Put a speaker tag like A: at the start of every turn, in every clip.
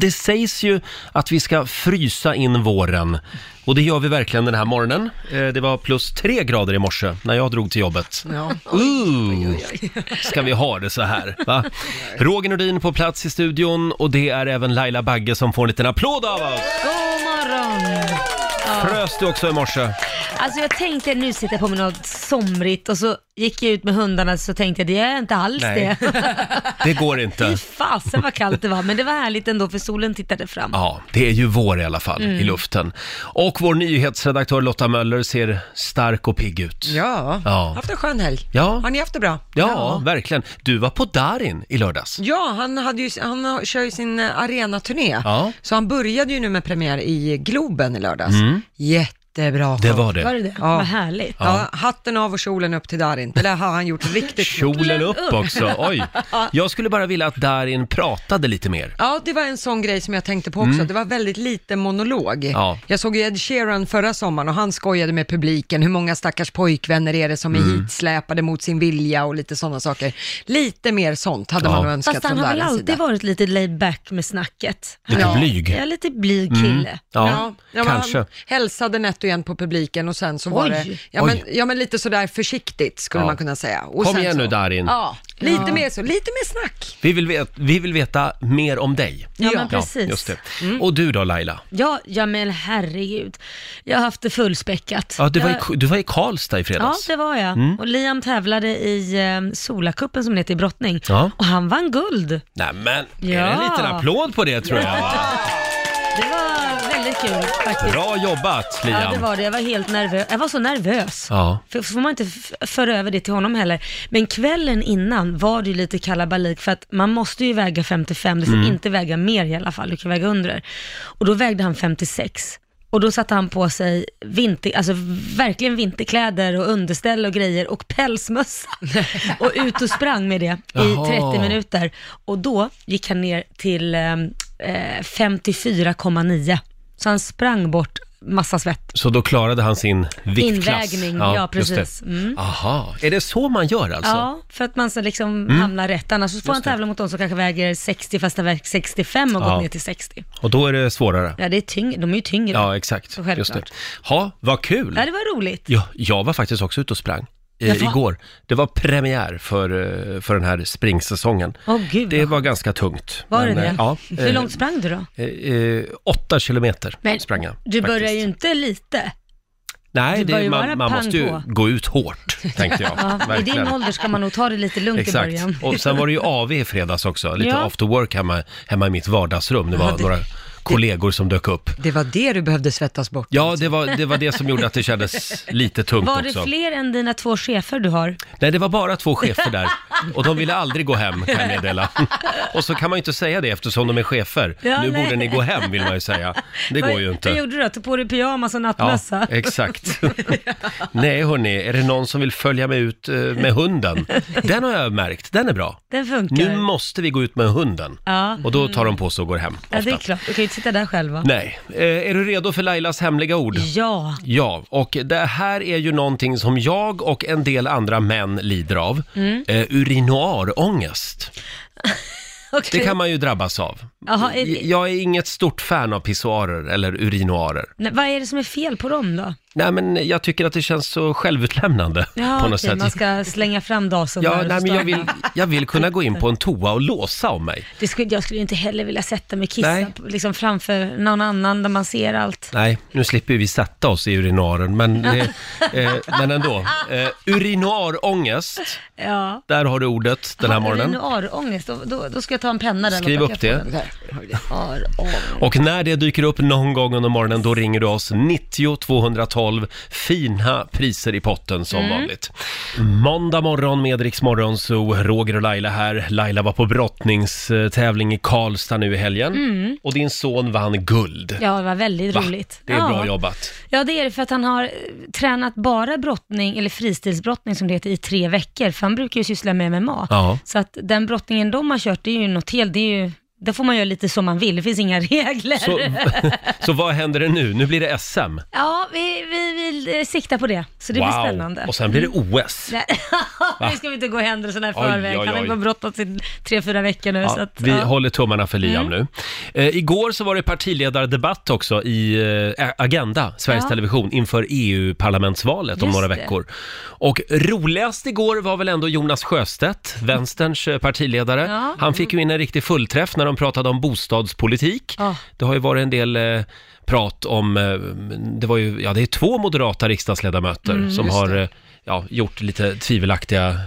A: Det sägs ju att vi ska frysa in våren och det gör vi verkligen den här morgonen. Eh, Det var plus tre grader i morse när jag drog till jobbet.
B: Ja.
A: Ooh, ska vi ha det så här? Va? Roger Nordin på plats i studion och det är även Laila Bagge som får en liten applåd av oss.
C: God morgon! Ja.
A: Frös du också i morse?
C: Alltså jag tänkte, nu sitter jag på mig något somrigt och så gick jag ut med hundarna så tänkte jag, det är inte alls
A: Nej.
C: det.
A: Det går inte.
C: Fasen vad kallt det var, men det var härligt ändå för solen tittade fram.
A: Ja, det är ju vår i alla fall
C: Mm.
A: i luften. Och vår nyhetsredaktör Lotta Möller ser stark och pigg ut.
B: Ja,
A: Ja.
B: haft en skön helg.
A: Ja.
B: Har ni haft det bra?
A: Ja, verkligen. Du var på Darin i lördags.
B: Ja, han, hade ju, han har- kör ju sin eh, arenaturné.
A: Ja.
B: Så han började ju nu med premiär i Globen i
C: Alltså,
B: lördags.
A: Mm.
B: Jättebra.
A: Det var det.
C: Var det det?
B: Ja.
C: Vad härligt.
B: Ja, hatten av och kjolen upp till Darin. Det där har han gjort riktigt
A: Kjolen upp också, oj.
B: Ja.
A: Jag skulle bara vilja att Darin pratade lite mer.
B: Ja, det var en sån grej som jag tänkte på också.
A: Mm.
B: Det var väldigt lite monolog.
A: Ja.
B: Jag såg ju Ed Sheeran förra sommaren och han skojade med publiken. Hur många stackars pojkvänner är det som är
A: Mm.
B: hitsläpade mot sin vilja och lite sådana saker. Lite mer sånt hade man nog önskat
C: Fast han
B: från
C: har väl
B: Darins
C: alltid
B: sida.
C: varit lite laid back med snacket.
A: Lite
C: Ja.
A: blyg.
C: Ja, lite blyg kille.
A: Mm. Ja,
B: men
A: kanske.
B: Han hälsade nätt och jämnt på publiken och sen så
C: Oj.
B: var det, ja men,
A: Oj.
B: ja men lite sådär försiktigt skulle
A: Ja.
B: man kunna säga. Och
A: Kom
B: sen
A: igen
B: så,
A: nu Darin.
B: Ja, lite
C: Ja.
B: mer så, lite mer snack.
A: Vi, vill veta, vi vill veta mer om dig.
C: Ja, men precis. Mm.
A: just det. Och du då Laila?
C: Ja, ja men herregud. Jag har haft det fullspäckat.
A: Ja, du, var
C: Jag-
A: i, du var i Karlstad i
C: Ja,
A: fredags.
C: det var jag.
A: Mm.
C: Och Liam tävlade i eh, Solacupen som det heter i brottning.
A: Ja.
C: Och han vann guld.
A: Nämen, är det
C: Ja.
A: en liten applåd på det tror jag? va?
C: Det var väldigt kul faktiskt.
A: Bra jobbat Liam.
C: Ja, det var det. Jag var helt nervös. Jag var så nervös.
A: Ja.
C: För får man inte f- föra över det till honom heller. Men kvällen innan var det ju lite kalabalik för att man måste ju väga 55, du får
D: Mm.
C: inte väga mer i alla fall, du kan väga under. Och då vägde han 56. Och då satte han på sig vinter, alltså verkligen vinterkläder och underställ och grejer och pälsmössa. och ut och sprang med det i
D: Jaha.
C: 30 minuter. Och då gick han ner till eh, eh, 54,9. Så han sprang bort massa svett.
A: Så då klarade han sin viktklass?
C: Invägning, ja,
A: just det.
C: precis. Mm.
A: Aha, är det så man gör alltså?
C: Ja, för att man så liksom
A: Mm.
C: hamnar rätt. Annars så får man tävla mot de som kanske väger 60 fast har vägt 65 och
A: Ja.
C: gått ner till 60.
A: Och då är det svårare?
C: Ja, det är tyngre. De är ju tyngre.
A: Ja, exakt.
C: Så självklart.
A: Just det. Ja, vad kul!
C: Ja, det var roligt.
A: Ja, jag var faktiskt också ute och sprang eh,
C: Jaha.
A: igår. Det var premiär för, eh, för den här springsäsongen.
C: Åh gud.
A: Det var ganska tungt.
C: Var det
A: Men,
C: det?
A: eh, Ja,
C: Hur långt sprang du då?
A: Eh, eh, åtta kilometer
C: Men
A: sprang jag.
C: Du
A: faktiskt.
C: börjar ju inte lite.
A: Nej,
C: du börjar
A: det,
C: ju
A: man,
C: bara
A: man
C: pang
A: måste ju
C: på.
A: gå ut hårt, tänkte jag.
C: Ja, I din
A: Verkligen.
C: ålder ska man nog ta det lite lugnt i
A: Exakt.
C: början.
A: Och sen var det ju AV i fredags också, lite
C: Ja.
A: after work hemma, hemma i mitt vardagsrum. Det var
B: Ja, det-
A: några kollegor som dök upp.
B: Det var det du behövde svettas bort.
A: Ja, det var, det var det som gjorde att det kändes lite tungt
C: Var det
A: också.
C: fler än dina två chefer du har?
A: Nej, det var bara två chefer där och de ville aldrig gå hem kan jag meddela. Och så kan man ju inte säga det eftersom de är chefer.
C: Ja,
A: nu
C: nej.
A: borde ni gå hem vill man ju säga. Det
C: Vad-
A: går ju
C: Vad
A: inte.
C: gjorde du då? Tog på dig pyjamas och
A: Ja,
C: nattmössa?
A: exakt. Nej, hörni, är det någon som vill följa mig ut eh, med hunden? Den har jag märkt, den är bra.
C: Den funkar.
A: Nu måste vi gå ut med hunden.
C: Ja.
A: Och då tar de på sig och går hem.
C: Ja, det är
A: ofta.
C: klart. Du kan ju inte sitta där själv va?
A: Nej. Eh, Är du redo för Lailas hemliga ord?
C: Ja.
A: Ja, och det här är ju någonting som jag och en del andra män lider av.
C: Mm.
A: Eh, urinarångest.
C: Okej.
A: Det kan man ju drabbas av.
C: Jaha, är-
A: Jag är inget stort fan av pissoarer eller urinoarer.
C: Nej, vad är det som är fel på dem då?
A: Nej, men jag tycker att det känns så självutlämnande
C: Ja,
A: på något
C: okej,
A: sätt.
C: man ska slänga fram dasen där
A: Ja,
C: och
A: nej, men jag,
C: starta.
A: vill, jag vill kunna gå in på en toa och låsa om mig.
C: Det skulle, jag skulle ju inte heller vilja sätta mig och kissa
A: Nej.
C: på- liksom framför någon annan där man ser allt.
A: Nej, nu slipper vi sätta oss i urinaren, men, det, eh, men ändå. Eh, urinarångest,
C: Ja.
A: där har du ordet den här morgonen.
C: Urinarångest, då, då, då ska jag ta en penna där.
A: Skriv
C: Lotta,
A: upp
C: kan jag
A: det.
C: få den? Urinarångest.
A: Och när det dyker upp någon gång under morgonen, då ringer du oss 90 212. Fina priser i potten som
E: Mm.
A: vanligt. Måndag morgon med Rix Morgon, så Roger och Laila här. Laila var på brottningstävling i Karlstad nu i helgen.
C: Mm.
A: Och din son vann guld.
C: Ja, det var väldigt
A: Va?
C: roligt.
A: Det är
C: ja.
A: bra jobbat.
C: Ja, det är det för att han har eh, tränat bara brottning, eller fristilsbrottning som det heter, i tre veckor. För han brukar ju syssla med MMA.
A: Ja.
C: Så att den brottningen de har kört, det är ju något helt, det är ju där får man göra lite som man vill, det finns inga regler.
A: Så, så vad händer det nu? Nu blir det SM.
C: Ja, vi, vi vill eh, sikta på det, så det blir spännande.
A: Och sen blir det OS.
C: Nej, nu ska vi inte gå händelserna i
A: Oj,
C: förväg.
A: oj,
C: Han
A: oj.
C: har ju bara brottats i tre, fyra veckor nu. så
A: Ja,
C: att,
A: vi
C: ja. Mm.
A: håller tummarna för Liam nu. Eh, igår så var det partiledardebatt också i eh, Agenda, Sveriges
C: Ja.
A: Television, inför EU-parlamentsvalet om
C: Just
A: några
C: det.
A: veckor. Och roligast igår var väl ändå Jonas Sjöstedt, vänsterns eh, partiledare.
C: Ja.
A: Han fick ju in en riktig fullträff när de pratade om bostadspolitik.
C: Ja.
A: Det har ju varit en del eh, prat om, eh, det var ju, ja det är två moderata riksdagsledamöter
C: Mm,
A: som
B: just
A: har eh, ja, gjort lite tvivelaktiga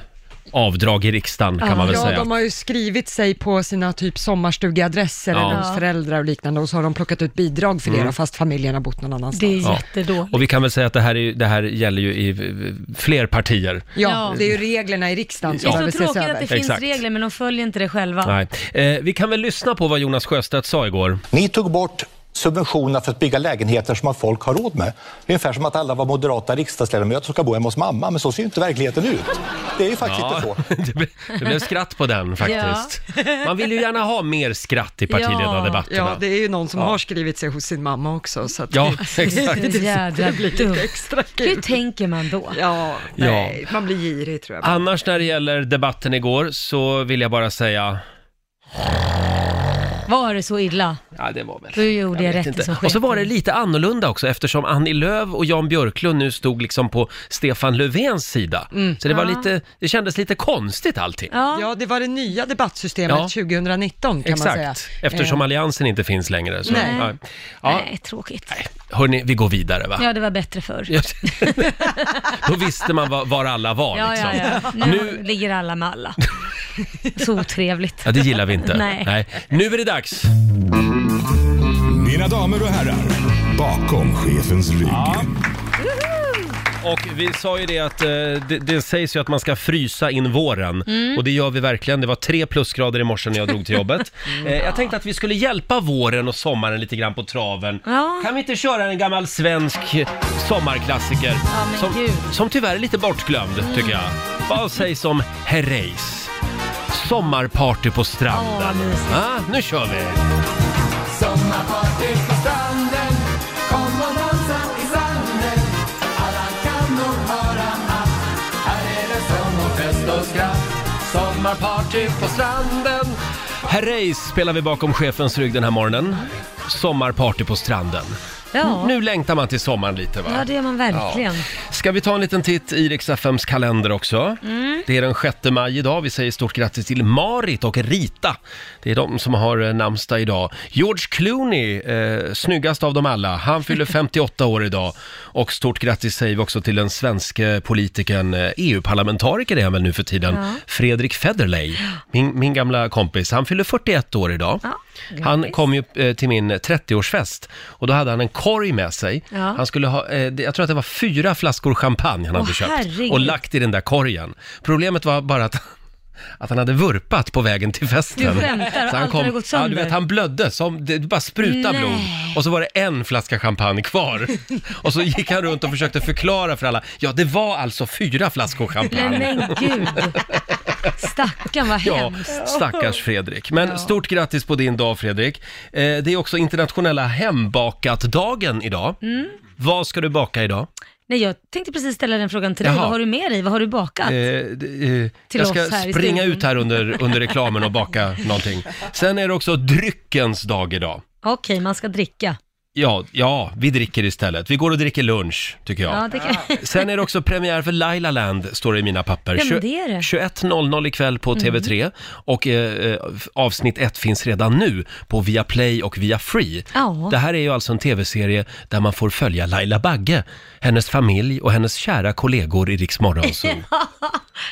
A: avdrag i riksdagen kan man väl
B: Ja,
A: säga.
B: de har ju skrivit sig på sina typ sommarstugeadresser
A: Ja. Mm.
B: eller hos föräldrar och liknande och så har de plockat ut bidrag för det då, fast familjen har bott någon
C: Det är
B: annanstans.
A: Ja.
C: jättedåligt.
A: Och vi kan väl säga att det här, är, ju- det här gäller ju i eh, fler partier.
B: Ja,
C: Ja.
B: det är ju reglerna i riksdagen som
C: Det är
B: behöver
C: så
B: ses
C: tråkigt att
B: över.
C: det finns
A: Exakt.
C: regler, men de följer inte det själva.
A: Nej. Eh, vi kan väl lyssna på vad Jonas Sjöstedt sa igår.
D: Ni tog bort subventionerna för att bygga lägenheter som att folk har råd med. Det är ungefär som att alla var moderata riksdagsledamöter som ska bo hemma hos mamma, men så ser ju inte verkligheten ut. Det är ju faktiskt inte så.
A: det, blev, det blev skratt på den faktiskt. Man vill ju gärna ha mer skratt i partiledardebatterna.
B: Ja, det är ju någon som har skrivit sig hos sin mamma också, så att
A: Ja,
C: Det
A: exakt.
C: är så jädra dumt.
B: extra
C: Hur
B: kul.
C: tänker man då?
B: Ja, nej, man blir girig tror jag.
A: Annars när det gäller debatten igår så vill jag bara säga...
C: Var det så illa?
A: Ja, det var väl...
C: Då gjorde jag,
A: vet
C: rätt
A: inte.
C: som
A: Och så
C: chef.
A: var det lite annorlunda också eftersom Annie Lööf och Jan Björklund nu stod liksom på Stefan Löfvens sida. Så det, var
C: Mm. Ja.
A: lite, det kändes lite konstigt allting.
C: Ja.
B: Ja, det var det nya debattsystemet
A: Ja.
B: 2019 kan man säga. Eh,
A: Exakt, eftersom alliansen inte finns längre. Så,
B: Nej.
A: Ja. Ja,
C: Nej, tråkigt.
A: hörni, vi går vidare va?
C: Ja, det var bättre förr.
A: Ja. Då visste man var, var alla var
C: Ja,
A: liksom.
C: ja, ja. Nu, ligger alla med alla. Så otrevligt.
A: Ja, det gillar vi inte.
C: Nej.
A: Nu är det dags.
E: Mina damer och herrar, bakom chefens rygg.
A: Och vi sa ju det att eh, det, det sägs ju att man ska frysa in våren.
C: Mm.
A: Och det gör vi verkligen. Det var tre plusgrader i morse när jag drog till jobbet.
C: Mm.
A: Eh, jag tänkte att vi skulle hjälpa våren och sommaren lite grann på traven.
C: Ja.
A: Kan vi inte köra en gammal svensk sommarklassiker?
C: men
A: som,
C: gud. Mm.
A: som tyvärr är lite bortglömd, tycker jag. Vad sägs om Herreys? Sommarparty på
C: Åh, vad
A: stranden.
C: mysigt.
A: ah, nu kör vi!
F: Sommarparty på stranden Kom och dansa i sanden Alla kan nog höra att Här är det sång och fest och skratt Sommarparty på stranden
A: Herreys spelar vi bakom chefens rygg den här morgonen. Sommarparty på stranden.
C: Ja,
A: Nu längtar man till sommaren lite va?
C: ja det gör man verkligen.
A: Ska vi ta en liten titt i Rix FMs kalender också?
C: Mm.
A: Det är den 6 maj idag. Vi säger stort grattis till Marit och Rita. Det är de som har eh, namnsdag idag. George Clooney, eh, snyggast av dem alla. Han fyller 58 år idag. Och stort grattis säger vi också till den svenske politikern, eh, EU-parlamentariker är han väl nu för tiden, Fredrik Federley. Min, min gamla kompis. Han fyller 41 år idag.
C: Ja,
A: han
C: grattis.
A: kom ju eh, till min 30-årsfest och då hade han en korg med sig.
C: Ja.
A: Han skulle ha, eh, det- jag tror att det var fyra flaskor champagne han hade
C: Åh,
A: köpt
C: herregud.
A: och lagt i den där korgen. Problemet var bara att att han hade vurpat på vägen till festen.
C: Du skämtar, och
A: Så han
C: allt hade gått
A: ja,
C: sönder.
A: du vet, han blödde, som, det bara sprutade
C: Nej.
A: blod. Och så var det en flaska champagne kvar. Och så gick han runt och försökte förklara för alla. Ja, det var alltså fyra flaskor champagne.
C: Nej men gud. Stackarn, vad hemskt.
A: Ja, stackars Fredrik. Men stort grattis på din dag Fredrik. Eh, det är också internationella hembakat-dagen idag.
C: Mm.
A: Vad ska du baka idag?
C: Nej, jag tänkte precis ställa den frågan till dig.
A: Jaha.
C: Vad har du med dig? Vad har du bakat?
A: Eh, d- eh,
C: Till
A: jag
C: oss
A: ska
C: här i
A: springa
C: studion.
A: ut här under, under reklamen och baka någonting. Sen är det också dryckens dag idag.
C: Okej, man ska dricka.
A: Ja, ja, vi dricker istället. Vi går och dricker lunch, tycker jag.
C: Ja, det kan...
A: Sen är det också premiär för Laila Land, står det i mina papper.
C: Ja, men
A: Tju-
C: det Mm. är det.
A: 21.00 ikväll på TV3 och eh, eh, avsnitt 1 finns redan nu på Viaplay och via Free.
C: Ja.
A: Det här är ju alltså en TV-serie där man får följa Laila Bagge, hennes familj och hennes kära kollegor i Rix Morgonzoo.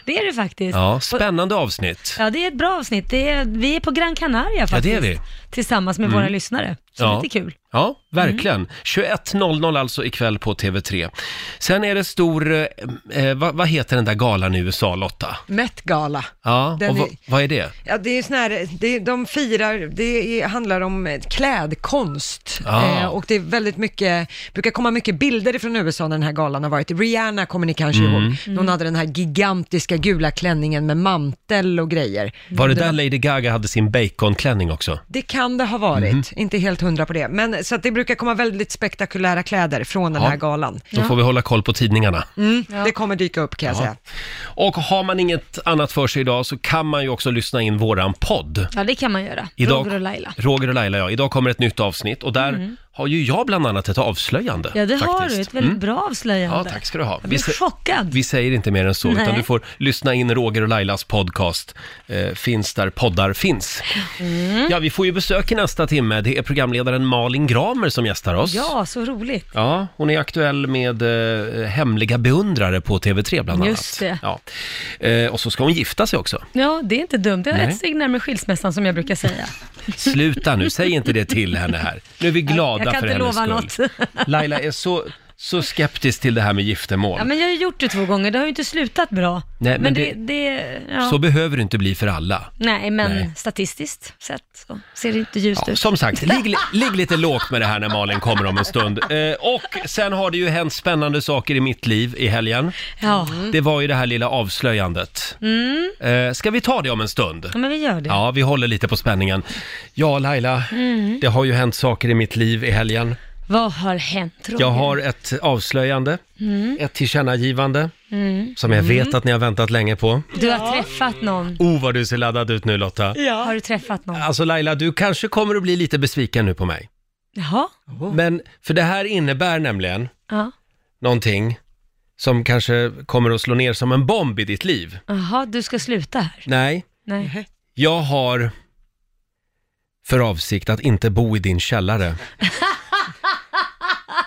C: det är det faktiskt.
A: Ja, spännande avsnitt.
C: Ja, det är ett bra avsnitt. Det är, vi är på Gran Canaria faktiskt.
A: det är vi.
C: Tillsammans med våra lyssnare. Så
A: Mm. Ja.
C: lite kul. Mm.
A: Ja, verkligen. 21.00 alltså ikväll på TV3. Sen är det stor, eh, eh, vad, vad heter den där galan i USA, Lotta?
B: Met Gala.
A: Ja,
B: Den
A: och vad-
B: är-
A: vad är det?
B: Ja, det är sån här, det, de firar, det är, handlar om eh, klädkonst
A: Ah.
B: eh, och det är väldigt mycket,
A: Mm.
B: brukar komma mycket bilder ifrån USA när den här galan har varit. Rihanna kommer ni kanske ihåg, hon hade den här gigantiska fantastiska gula klänningen med mantel och grejer.
A: Var det där Lady Gaga hade sin baconklänning också?
B: Det kan det ha varit,
A: Mhm.
B: inte helt hundra på det. Men så att det brukar komma väldigt spektakulära kläder från den
A: Ja.
B: här galan.
A: Då får vi hålla koll på tidningarna.
B: Mm, Det kommer dyka upp kan jag säga.
A: Och har man inget annat för sig idag så kan man ju också lyssna in våran podd.
C: Ja, det kan man göra.
A: Idag,
C: Roger och Laila.
A: Roger och Laila, ja. Idag kommer ett nytt avsnitt och där har ju jag bland annat ett avslöjande.
C: Mm. Ja, det har du.
A: faktiskt.
C: Ett väldigt
A: Mm.
C: bra avslöjande.
A: Ja, tack ska du ha.
C: Jag
A: Vi
C: blev
A: se-
C: chockad.
A: Vi säger inte mer än så,
C: Nej.
A: utan du får lyssna in Roger och Lailas podcast. Eh, finns där poddar finns.
C: Mm.
A: Ja, vi får ju besök i nästa timme. Det är programledaren Malin Gramer som gästar oss.
C: Ja, så roligt.
A: Ja, hon är aktuell med eh, hemliga beundrare på TV3 bland annat.
C: Just det.
A: Ja. Eh, och så ska hon gifta sig också.
C: Ja, det är inte dumt. Det är
A: Nej.
C: ett steg närmare skilsmässan som jag brukar säga.
A: Sluta nu, säg inte det till henne här. Nu är vi glada
C: Jag kan
A: för
C: inte
A: hennes skull.
C: lova
A: Laila är så, så skeptisk till det här med giftermål.
C: Ja, men jag har ju gjort det två gånger. Det har ju inte slutat bra.
A: Nej, men
C: men det... det, ja.
A: Så behöver det inte bli för alla.
C: Nej, men
A: Nej.
C: statistiskt sett så ser det inte ljust
A: Ja,
C: ut.
A: som sagt, ligg, ligg lite lågt med det här när Malin kommer om en stund. Eh, och sen har det ju hänt spännande saker i mitt liv i helgen.
C: Ja.
A: Mm.
C: Mm.
A: Det var ju det här lilla avslöjandet. Eh, ska vi ta det om en stund?
C: ja, men vi gör det.
A: Ja, vi håller lite på spänningen. Ja, Laila, det har ju hänt saker i mitt liv i helgen.
C: Mm. Vad har hänt, Roger? Mm.
A: Jag har ett avslöjande, ett tillkännagivande, som jag vet att ni har väntat länge på.
C: Du har träffat någon.
A: Oh, vad du ser laddad ut nu Lotta.
C: Har du träffat någon?
A: Alltså Laila, du kanske kommer att bli lite besviken nu på mig.
C: Jaha.
A: Men, för det här innebär nämligen
C: Ja.
A: någonting som kanske kommer att slå ner som en bomb i ditt liv.
C: Jaha, du ska sluta här.
A: Nej,
C: Nej.
A: jag har för avsikt att inte bo i din källare.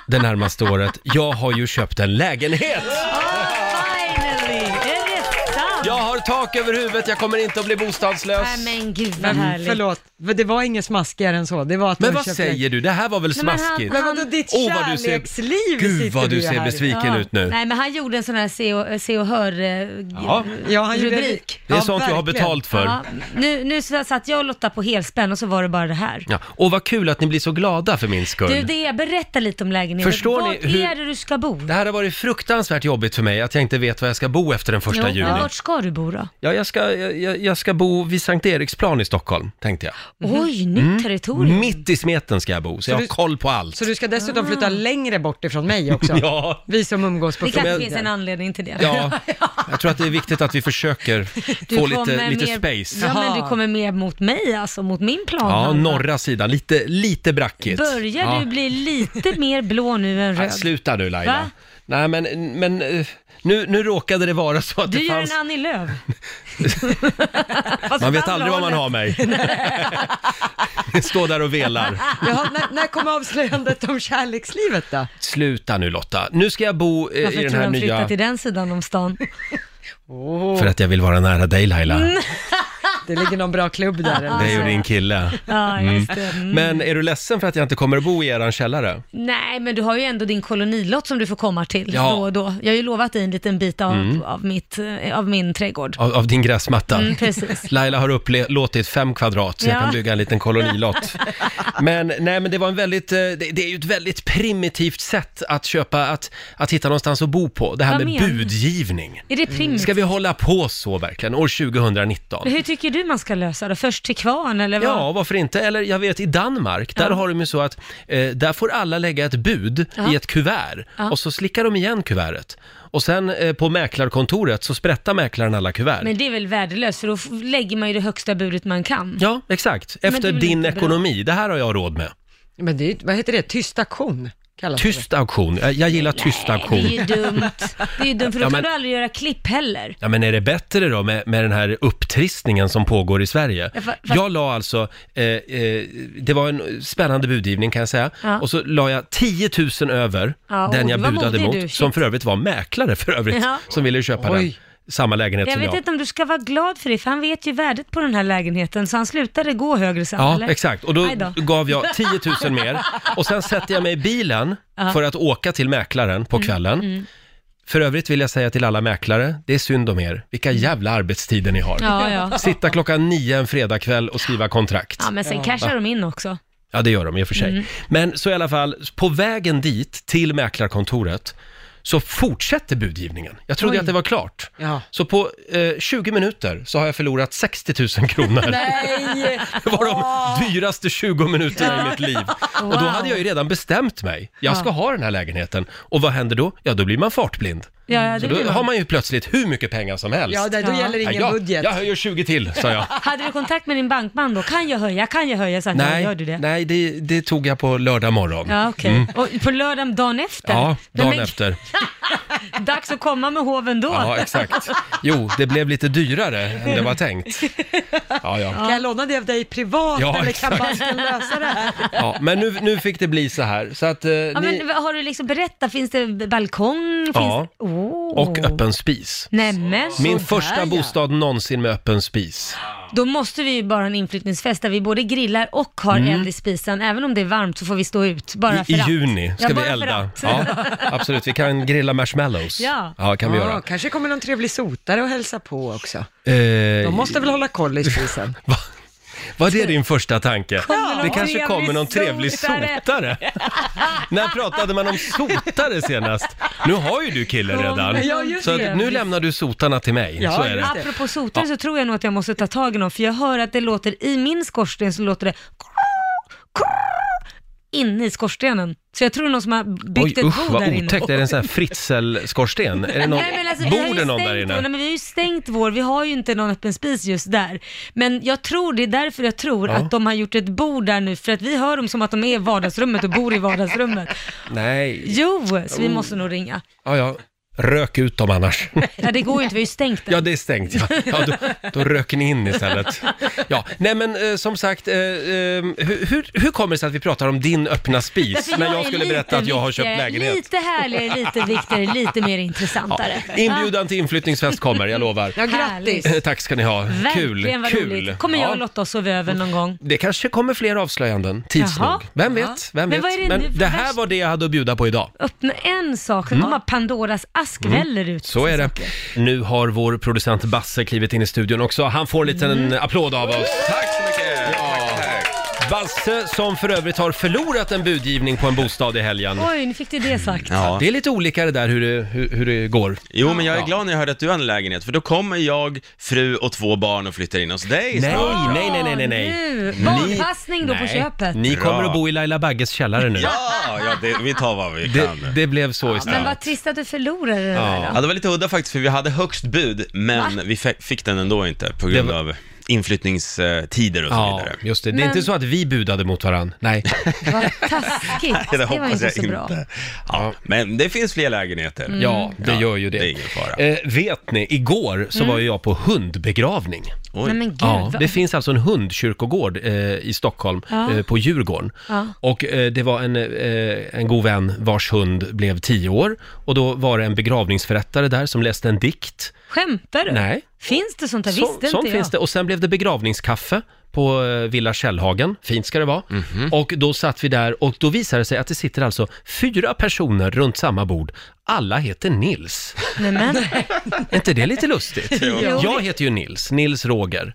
A: Det närmaste året. Jag har ju köpt en lägenhet!
C: Finally! Är det sant?
A: Jag har tak över huvudet, jag kommer inte att bli bostadslös.
C: Nej, men gud vad
B: Men
C: härligt.
B: Mm, förlåt, för det var inget smaskigare än så. Det var att
A: Men
B: hon
A: vad
B: köpte-
A: säger du? Det här var väl
C: Nej, men han-
A: smaskigt?
B: Men vadå, ditt
A: Åh, vad du ser-
B: kärleksliv
A: Gud
B: sitter
A: vad du
B: ju
A: ser
B: här.
A: besviken ut nu.
C: Nej, men han gjorde en sån här se och, se och hör eh,
A: Ja,
B: Ja, han gjorde-
C: rubrik.
A: det är
B: Ja,
A: sånt jag har
B: verkligen.
A: betalt för.
C: Ja, nu, nu satt jag och Lotta på helspänn och så var det bara det här.
A: Ja. Och vad kul att ni blir så glada för min skull.
C: Du, det är, berätta lite om lägenheten.
A: Förstår
C: Vart
A: ni hur-
C: är det du ska bo?
A: Det här har varit fruktansvärt jobbigt för mig att jag inte vet var jag ska bo efter den första
C: Jo,
A: juni.
C: men vart ska du bo då?
A: Ja, jag ska, jag, jag- jag ska bo vid Sankt Eriksplan i Stockholm, tänkte jag.
B: Mhm.
A: Mm.
C: Oj, nytt territorium.
A: Mitt i smeten ska jag bo, så jag har
B: du-
A: koll på allt.
B: Så du ska dessutom
C: Ah.
B: flytta längre bort ifrån mig också?
A: Ja,
B: Vi som umgås på
C: Det kanske
A: Men-
C: finns en anledning till det.
A: ja, jag tror att det är viktigt att vi försöker få lite,
C: kommer
A: lite
C: mer-
A: space.
C: Ja, men
B: Jaha.
C: du kommer mer mot mig alltså, mot min plan.
A: Ja,
C: Hanna.
A: norra sidan, lite, lite brackigt.
C: Börjar
A: ja.
C: du bli lite mer blå nu än
A: Nej,
C: röd?
A: sluta du Laila.
C: Va?
A: Nej, men, men eh, nu, nu råkade det vara så att
C: du
A: det
C: gör
A: fanns...
C: en Annie Lööf. Fast
A: Man vet
C: åt
A: aldrig vad man
C: hållet.
A: har mig. Stå där och velar.
B: Jaha, när, när kom avslöjandet om kärlekslivet då?
A: Sluta nu Lotta. Nu ska jag bo eh,
C: Varför
A: i den
C: tror
A: här
C: de flyttar
A: nya...
C: till den sidan om stan?
A: För att jag vill vara nära dig Laila.
C: Mm.
B: Det ligger någon bra klubb där
C: Ah.
B: eller?
A: Dig och din kille.
C: Ja, just det. Mm.
A: Men är du ledsen för att jag inte kommer att bo i eran källare?
C: Nej, men du har ju ändå din kolonilott som du får komma till
A: Ja. Mm.
C: då och då. Jag har ju lovat dig en liten bit av, av, mitt, eh, av min trädgård.
A: Av, av din gräsmatta?
C: Mm, precis.
A: Laila har upplåtit fem kvadrat så jag
C: Ja.
A: kan bygga en liten kolonilott. Men nej, men det var en väldigt, eh, det, det är ju ett väldigt primitivt sätt att köpa, att, att hitta någonstans att bo på. Det här
C: Vad
A: med
C: menar du?
A: budgivning. Mm.
C: Är det primt?
A: Ska vi hålla på så verkligen, år 2019?
C: Men Hur tycker du man ska lösa det? Först till kvarn eller vad?
A: Ja, varför inte? Eller jag vet i Danmark, där har de ju så att eh, där får alla lägga ett bud i ett kuvert och så slickar de igen kuvertet. Och sen eh, på mäklarkontoret så sprättar mäklaren alla kuvert.
C: Men det är väl värdelöst för då f- lägger man ju det högsta budet man kan.
A: Ja, exakt.
C: Men det
A: Efter
C: är väl
A: din
C: inte bra.
A: ekonomi. Det här har jag råd med.
B: Men det är, ju- vad heter det? Tyst auktion kallas det.
A: Tyst auktion. Jag, jag gillar tyst
C: Det är
A: auktion.
C: ju dumt. Det är ju dumt för då
A: Ja, men-
C: kan du aldrig göra klipp heller.
A: Ja, men är det bättre då med, med den här upptristningen som pågår i Sverige?
C: Ja, fa- fa-
A: Jag la alltså, eh, eh, det var en spännande budgivning kan jag säga,
C: Ja.
A: och så la jag 10 000 över
C: Ja,
A: den
C: oj,
A: jag
C: vad
A: budade
C: modig
A: mot,
C: du, shit.
A: som för övrigt var mäklare för övrigt,
C: Ja.
A: som ville köpa den.
B: Oj.
A: Samma lägenhet
C: Jag
A: som
C: vet
A: jag.
C: inte om du ska vara glad för det, för han vet ju värdet på den här lägenheten, så han slutade gå högre sen,
A: Ja,
C: eller?
A: exakt. Och då
C: Aj då.
A: gav jag 10 000 mer. Och sen sätter jag mig i bilen för att åka till mäklaren på
C: Mm,
A: kvällen. För övrigt vill jag säga till alla mäklare, det är synd om er. Vilka jävla arbetstider ni har.
C: Mm. Ja, ja.
A: Sitta klockan nio en fredagkväll och skriva kontrakt.
C: Ja, men sen cashar de in också. Mm.
A: Ja, det gör de i och för sig. Men så i alla fall, på vägen dit till mäklarkontoret så fortsätter budgivningen. Jag trodde
B: Oj.
A: att det var klart.
B: Ja.
A: Så på eh, 20 minuter så har jag förlorat 60 000 kronor.
C: Nej!
A: Det var de dyraste 20 minuterna i mitt liv. Och då hade jag ju redan bestämt mig. Jag ska ha den här lägenheten. Och vad händer då? Ja, då blir man fartblind.
C: Ja, ja,
A: Så
C: det
A: då
C: blir man.
A: har man ju plötsligt hur mycket pengar som helst.
B: Ja, där, då
C: Ja.
B: gäller
A: Ja,
B: ingen
A: jag,
B: budget.
A: Jag höjer 20 till, sa jag.
C: Hade du kontakt med din bankman då? Kan jag höja? Kan jag höja? Så att,
A: Nej,
C: ja, gör du det?
A: nej det, det tog jag på lördag morgon.
C: Ja, okej. Och på lördagen, dagen efter?
A: Ja,
C: Nej,
A: dagen
C: men-
A: efter.
C: Dags att komma med hoven då.
A: Ja, exakt. Jo, det blev lite dyrare än
C: Mm.
A: det var tänkt. Ja, ja.
B: Kan jag låna det av dig privat
A: Ja,
B: eller
A: exakt.
B: kan banken lösa det här?
A: ja men nu, nu fick det bli så här. Så att, eh,
C: Ja,
A: ni...
C: men har du liksom berättat, finns det balkong? Finns
A: Ja.
C: det... oh.
A: Och öppen spis.
C: Nämen.
A: Min
B: Sådär,
A: första
B: ja.
A: bostad någonsin med öppen spis.
C: Då måste vi ju bara ha en inflyttningsfest där vi både grillar och har eld i spisen. Även om det är varmt så får vi stå ut bara
A: Mm. I,
C: för
A: I
C: att.
A: juni ska
C: Ja,
A: vi
C: bara för
A: elda.
C: att.
A: Ja, absolut, vi kan grilla marshmallows.
C: Ja.
A: kan vi göra.
B: Ja, kanske kommer någon trevlig sotare och hälsa på också.
A: Eh,
B: De måste väl hålla koll i spisen?
A: va, var det din första tanke?
C: någon
A: det kanske
C: trevlig
A: kommer någon trevlig
C: sotare.
A: sotare. När pratade man om sotare senast? Nu har ju du kille redan.
B: Ja, just
A: Så
C: det.
A: att nu lämnar du sotarna till mig.
B: Ja,
A: så är det.
B: just
C: Apropå sotare så tror jag nog att jag måste ta tag i någon, för jag hör att det låter, i min skorsten så låter det inne i skorstenen. Så jag tror det är någon som har
A: Oj,
C: byggt ett
A: usch
C: bo
A: vad
C: där inne.
A: otäckt. Är det en sån här fritzelskorsten? Är det någon,
C: Nej, men alltså, vi har
A: bor
C: ju
A: det någon
C: stängt
A: där
C: Vår, nej,
A: inne?
C: men vi har ju stängt vår, vi har ju inte någon öppen spis just där. Men jag tror, det är därför jag tror
A: Ja.
C: att de har gjort ett bord där nu, för att vi hör dem som att de är i vardagsrummet och bor i vardagsrummet.
A: Nej.
C: Jo, så vi måste nog ringa.
A: Ja, ja. Rök ut dem annars.
C: Ja, det går ju inte, vi har ju stängt den.
A: Ja, det är stängt. Ja. Ja, då, då rök ni in istället. Ja, nej men eh, som sagt, eh, eh, hur, hur- hur kommer det sig att vi pratar om din öppna spis
C: Därför
A: när jag
C: är
A: skulle
C: lite
A: berätta att jag har
C: viktigare,
A: köpt lägenhet?
C: Lite härligare, lite viktigare, lite mer intressantare.
A: Inbjudan till inflyttningsfest kommer, jag lovar.
B: Ja, grattis!
C: Härligt.
A: Eh, Tack ska ni ha.
C: Verkligen
A: Kul,
C: vad
A: kul.
C: roligt. Kommer jag
A: Ja. Mm.
C: och Lotta att sova över någon gång?
A: Det kanske kommer fler avslöjanden, tids
C: Jaha.
A: nog. Vem
B: Ja.
A: vet? Vem
C: Men
A: vet?
C: vad är det nu för
A: det här
C: värst-
A: var det jag hade att bjuda på idag.
C: Öppna en sak, sen kommer Pandoras ask väller ut.
A: Mm. Så är det. Nu har vår producent Basse klivit in i studion också. Han får en liten
C: Mm.
A: applåd av oss.
G: Tack så mycket!
A: Basse som för övrigt har förlorat en budgivning på en bostad i helgen.
C: Oj, nu fick du det sagt.
G: Ja.
A: Det är lite olika det där hur det, hur, hur det går.
G: Jo, men jag är glad när jag hörde att du har en lägenhet, för då kommer jag, fru och två barn och flyttar in hos dig
A: Nej,
G: snart.
A: nej, nej, nej, nej, nej.
C: Nu, Barnpassning då på
A: Nej,
C: köpet.
A: Ni
G: Bra.
A: kommer att bo i Laila Bagges källare nu.
G: Ja, ja det, vi tar vad vi
A: Det,
G: kan.
A: det blev så
C: Men
A: istället.
C: vad trist att du förlorade det där
G: Ja,
C: då.
G: det var lite udda faktiskt, för vi hade högst bud, men vi fe- fick den ändå inte på grund
A: Det var-
G: av inflyttningstider och så
A: Ja,
G: vidare.
A: just det. Det är
C: Men-
A: inte så att vi budade mot varandra. Nej.
C: Vad taskigt.
G: Det
C: Det var
G: hoppas
C: inte
G: jag
C: så bra.
G: inte. Ja, men det finns fler lägenheter.
C: Mm.
A: Ja, det
G: Ja,
A: gör ju det.
G: det är ingen fara.
A: Eh, vet ni, igår så var ju jag på hundbegravning.
G: Oj.
C: Mm. Nej men gud.
A: Ja,
C: vad-
A: det finns alltså en hundkyrkogård eh, i Stockholm,
C: Ja.
A: eh, på Djurgården.
C: Ja.
A: Och eh, det var en, eh, en god vän vars hund blev tio år. Och då var det en begravningsförrättare där som läste en dikt.
C: Skämtar du?
A: Nej.
C: Finns det sånt där?
A: Så,
C: Visste
A: sånt
C: inte jag.
A: finns det. Och sen blev det begravningskaffe på eh, Villa Källhagen. Fint ska det vara. Och då satt vi där och då visade det sig att det sitter alltså fyra personer runt samma bord. Alla heter Nils.
C: Nej, men.
A: Är inte det lite lustigt?
C: Jo.
A: Jag heter ju Nils, Nils Roger.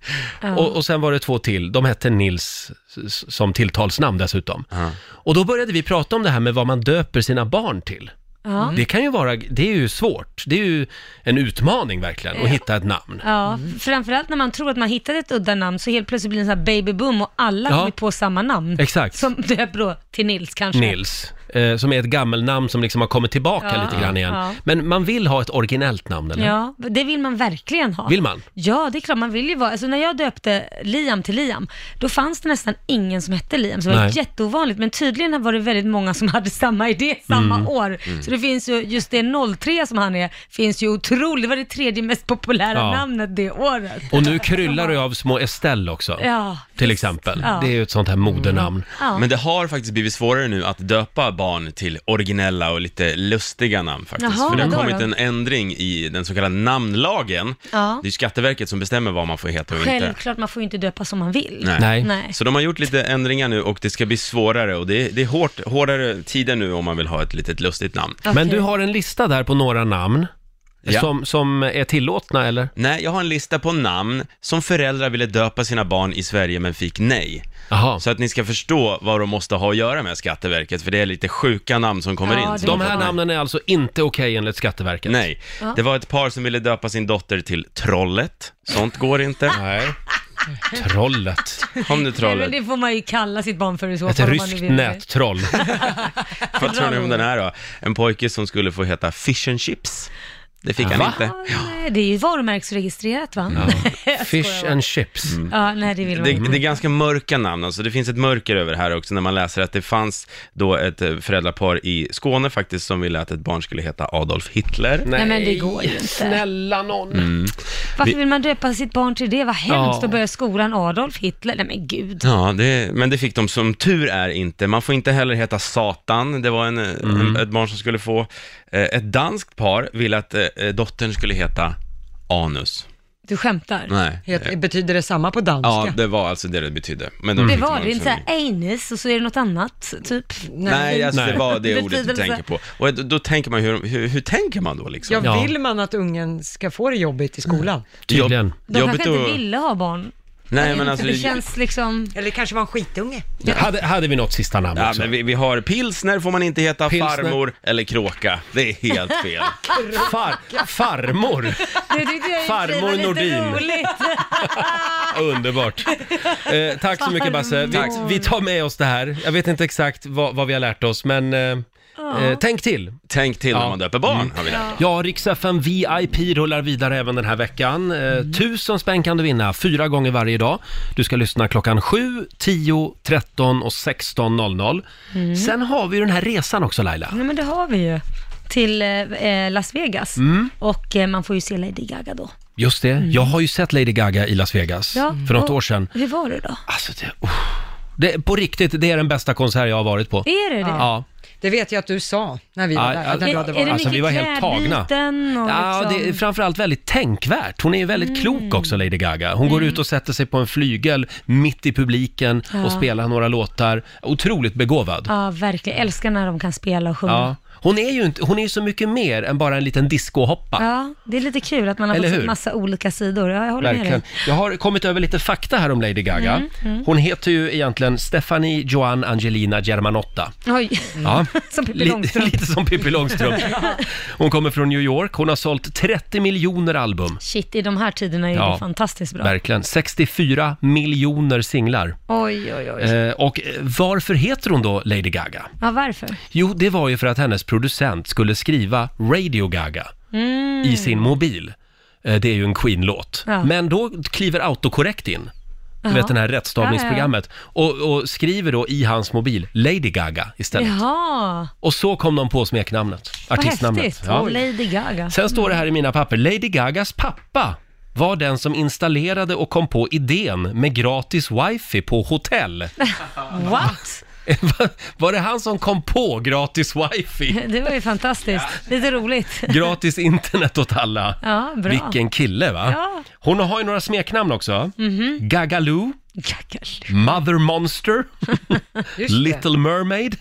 A: Och, och sen var det två till, de hette Nils s- som tilltalsnamn dessutom. Och då började vi prata om det här med vad man döper sina barn till.
C: Ja.
A: Det kan ju vara, det är ju svårt, det är ju en utmaning verkligen att hitta ett namn.
C: Ja, framförallt när man tror att man hittat ett udda namn så helt plötsligt blir det en sån här baby boom och alla
A: Ja.
C: kommer på samma namn.
A: Exakt.
C: Som döper då till Nils kanske.
A: Nils, eh, som är ett gammelnamn som liksom har kommit tillbaka
C: Ja,
A: lite grann igen.
C: ja.
A: Men man vill ha ett originellt namn, eller?
C: Ja, det vill man verkligen ha.
A: Vill man?
C: Ja, det är klart man vill ju vara. Alltså när jag döpte Liam till Liam, då fanns det nästan ingen som hette Liam, så det var
A: Nej.
C: jätteovanligt. Men tydligen var det väldigt många som hade samma idé samma
A: Mm.
C: år. Så det finns ju, just det 03 som han är, finns ju otroligt, det var det tredje mest populära
A: Ja.
C: namnet det året.
A: Och nu kryllar det ju av små Estelle också,
C: Ja,
A: till
C: visst.
A: exempel.
C: Ja. Mm.
A: Det är ju ett sånt här modenamn.
C: Ja.
G: Men det har faktiskt blivit svårare nu att döpa barn till originella och lite lustiga namn faktiskt.
C: Jaha,
G: För det har
C: vadå
G: kommit
C: då?
G: en ändring i den så kallade namnlagen.
C: Ja.
G: Det är ju Skatteverket som bestämmer vad man får heta och inte.
C: Självklart, man får ju inte döpa som man vill.
G: Nej.
A: Nej.
C: Nej.
G: Så de har gjort lite ändringar nu och det ska bli svårare och det är, det är hårt, hårdare tider nu om man vill ha ett litet lustigt namn.
A: Men
C: Okej.
A: du har en lista där på några namn
G: Ja.
A: som, som är tillåtna eller?
G: Nej, jag har en lista på namn som föräldrar ville döpa sina barn i Sverige men fick nej.
A: Jaha.
G: Så att ni ska förstå vad de måste ha att göra med Skatteverket, för det är lite sjuka namn som kommer
C: Ja,
G: in.
C: det
G: Så
A: De här
C: Ja.
A: namnen är alltså inte okej enligt Skatteverket?
G: Nej, det var ett par som ville döpa sin dotter till Trollet. Sånt går inte.
A: Nej. Trollet.
G: Kom nu
C: Nej, men
G: Trollet.
C: det får man ju kalla sitt barn för i så
A: Ett
C: fall. om man nu
A: ryskt
C: vill det.
A: nättroll.
G: Vad tror ni om den här då? En pojke som skulle få heta Fish and Chips. Det fick han
A: Va?
G: inte.
C: Ja, nej, det är ju varumärkesregistrerat va? Jag
A: Fish
C: skojar
A: and chips.
C: bara. Ja, nej det vill
G: Mm.
C: man
G: Det,
C: inte.
G: det är ganska mörka namn, alltså det finns ett mörker över det här också när man läser att det fanns då ett eh, föräldrapar i Skåne faktiskt som ville att ett barn skulle heta Adolf Hitler.
C: Nej, men det går ju inte.
A: Snälla någon.
G: Mm.
C: Varför vill man döpa sitt barn till det? Vad hemskt
A: Ja.
C: att börja skolan Adolf Hitler. Nej men gud.
G: Ja, det, men det fick de som tur är inte. Man får inte heller heta Satan. Det var en, eh, en, ett barn som skulle få... Eh, ett danskt par ville att eh, eh, dottern skulle heta Anus.
C: Du skämtar.
G: Nej.
B: Het, betyder det samma på danska?
G: Ja, det var alltså det det betydde. Men de
C: Det
G: fick
C: var
G: någon
C: det, inte
G: som-
C: såhär anus och så är det något annat, typ.
G: Nej, alltså, det
A: Nej.
G: var det ordet du
C: Betydelse.
G: tänker på. Och då, då tänker man, hur, hur, hur tänker man då liksom?
B: Ja,
A: Ja.
B: vill man att ungen ska få det jobbigt i skolan?
A: Mm. Tydligen.
C: De kanske
G: att-
C: inte ville ha barn.
G: Nej, men
C: Inte,
G: alltså...
C: det känns liksom...
B: Eller kanske var en skitunge?
A: Hade, hade vi något sista namn
G: Ja,
A: också?
G: men vi, vi har pilsner får man inte heta,
A: Pilsner.
G: farmor eller kråka. Det är helt fel.
A: Far, farmor.
C: Det tyckte jag i och för sig
A: Farmor
C: var lite
A: Nordin.
C: roligt.
A: Underbart. Eh, tack så mycket Basse. Vi,
C: Farmor.
A: vi tar med oss det här. Jag vet inte exakt vad, vad vi har lärt oss, men eh, eh, tänk till.
G: Tänk till när
A: Ja.
G: man döper barn, har vi lärt oss.
A: Ja, Riks-FM VIP rullar vidare även den här veckan. Eh,
G: Mm.
A: Tusen spänn kan du vinna, fyra gånger varje dag. Du ska lyssna klockan 7, 10, 13 och 16.00.
C: Mm.
A: Sen har vi ju den här resan också Laila.
C: Nej men det har vi ju. Till eh, Las Vegas.
G: Mm.
C: Och eh, man får ju se Lady Gaga då.
A: Mm. Just det, jag har ju sett Lady Gaga i Las Vegas
C: Mm. Ja,
A: Mm. för något
C: och-
A: år sedan.
C: Hur var det då?
A: Alltså, det, oh. det, på riktigt, det är den bästa konsert jag har varit på.
C: Är det det?
A: Ja.
B: Det vet jag att du sa när vi
A: Ja,
B: var där.
A: ja,
B: när du hade
C: Är- är
B: varit.
C: det
A: Alltså, vi var helt
C: mycket
A: tagna.
C: klädbyten och
A: Ja,
C: liksom-
A: det är framförallt väldigt tänkvärt. Hon är ju
C: Mm.
A: väldigt klok också, Lady Gaga. Hon går ut och sätter sig på en flygel mitt i publiken och spelar några låtar. Otroligt begåvad.
C: Ja, verkligen. Älskar när de kan spela och sjunga.
A: Ja.
C: Ja,
A: Hon är ju inte, hon är ju så mycket mer än bara en liten discohoppa.
C: det är lite kul att man har
A: Eller
C: fått
A: hur?
C: sett massa olika sidor. Ja, jag håller med
A: Verkligen.
C: dig.
A: Jag
C: Mm,
A: har kommit över lite fakta här om Lady Gaga. Hon heter ju egentligen Stephanie Joan Angelina Germanotta.
C: Oj.
A: Ja.
C: Mm. Som Pippi
A: Li-
C: Långstrump.
A: Lite som Pippi Långstrump. Hon kommer från New York. Hon har sålt 30 miljoner album.
C: Shit, i de här tiderna är
A: Ja.
C: det fantastiskt bra.
A: Verkligen. 64 miljoner singlar.
C: Oj, oj, oj.
A: Eh, och eh, varför heter hon då Lady Gaga?
C: Ja, varför?
A: Jo, det var ju för att hennes producent skulle skriva Radio Gaga
C: Mm.
A: i sin mobil. Eh, det är ju en Queen-låt.
C: Ja.
A: Men då kliver autokorrekt in. Du
C: Jaha.
A: vet den här rättstavningsprogrammet. Och, och skriver då i hans mobil Lady Gaga istället.
C: Jaha,
A: Och så kom de på smeknamnet,
C: vad
A: artistnamnet.
C: häftigt. Och Lady Gaga.
A: Sen står det här i mina papper, Lady Gagas pappa var den som installerade och kom på idén med gratis wifi på hotell.
C: What?
A: Var det han som kom på gratis wifi?
C: Det var ju fantastiskt. Lite roligt.
A: Gratis internet åt alla.
C: Ja, bra.
A: Vilken kille va?
C: Ja. Mhm.
A: Hon har ju några smeknamn också. Gagaloo,
C: Gagal.
A: Mother Monster,
B: Just det.
A: Little Mermaid,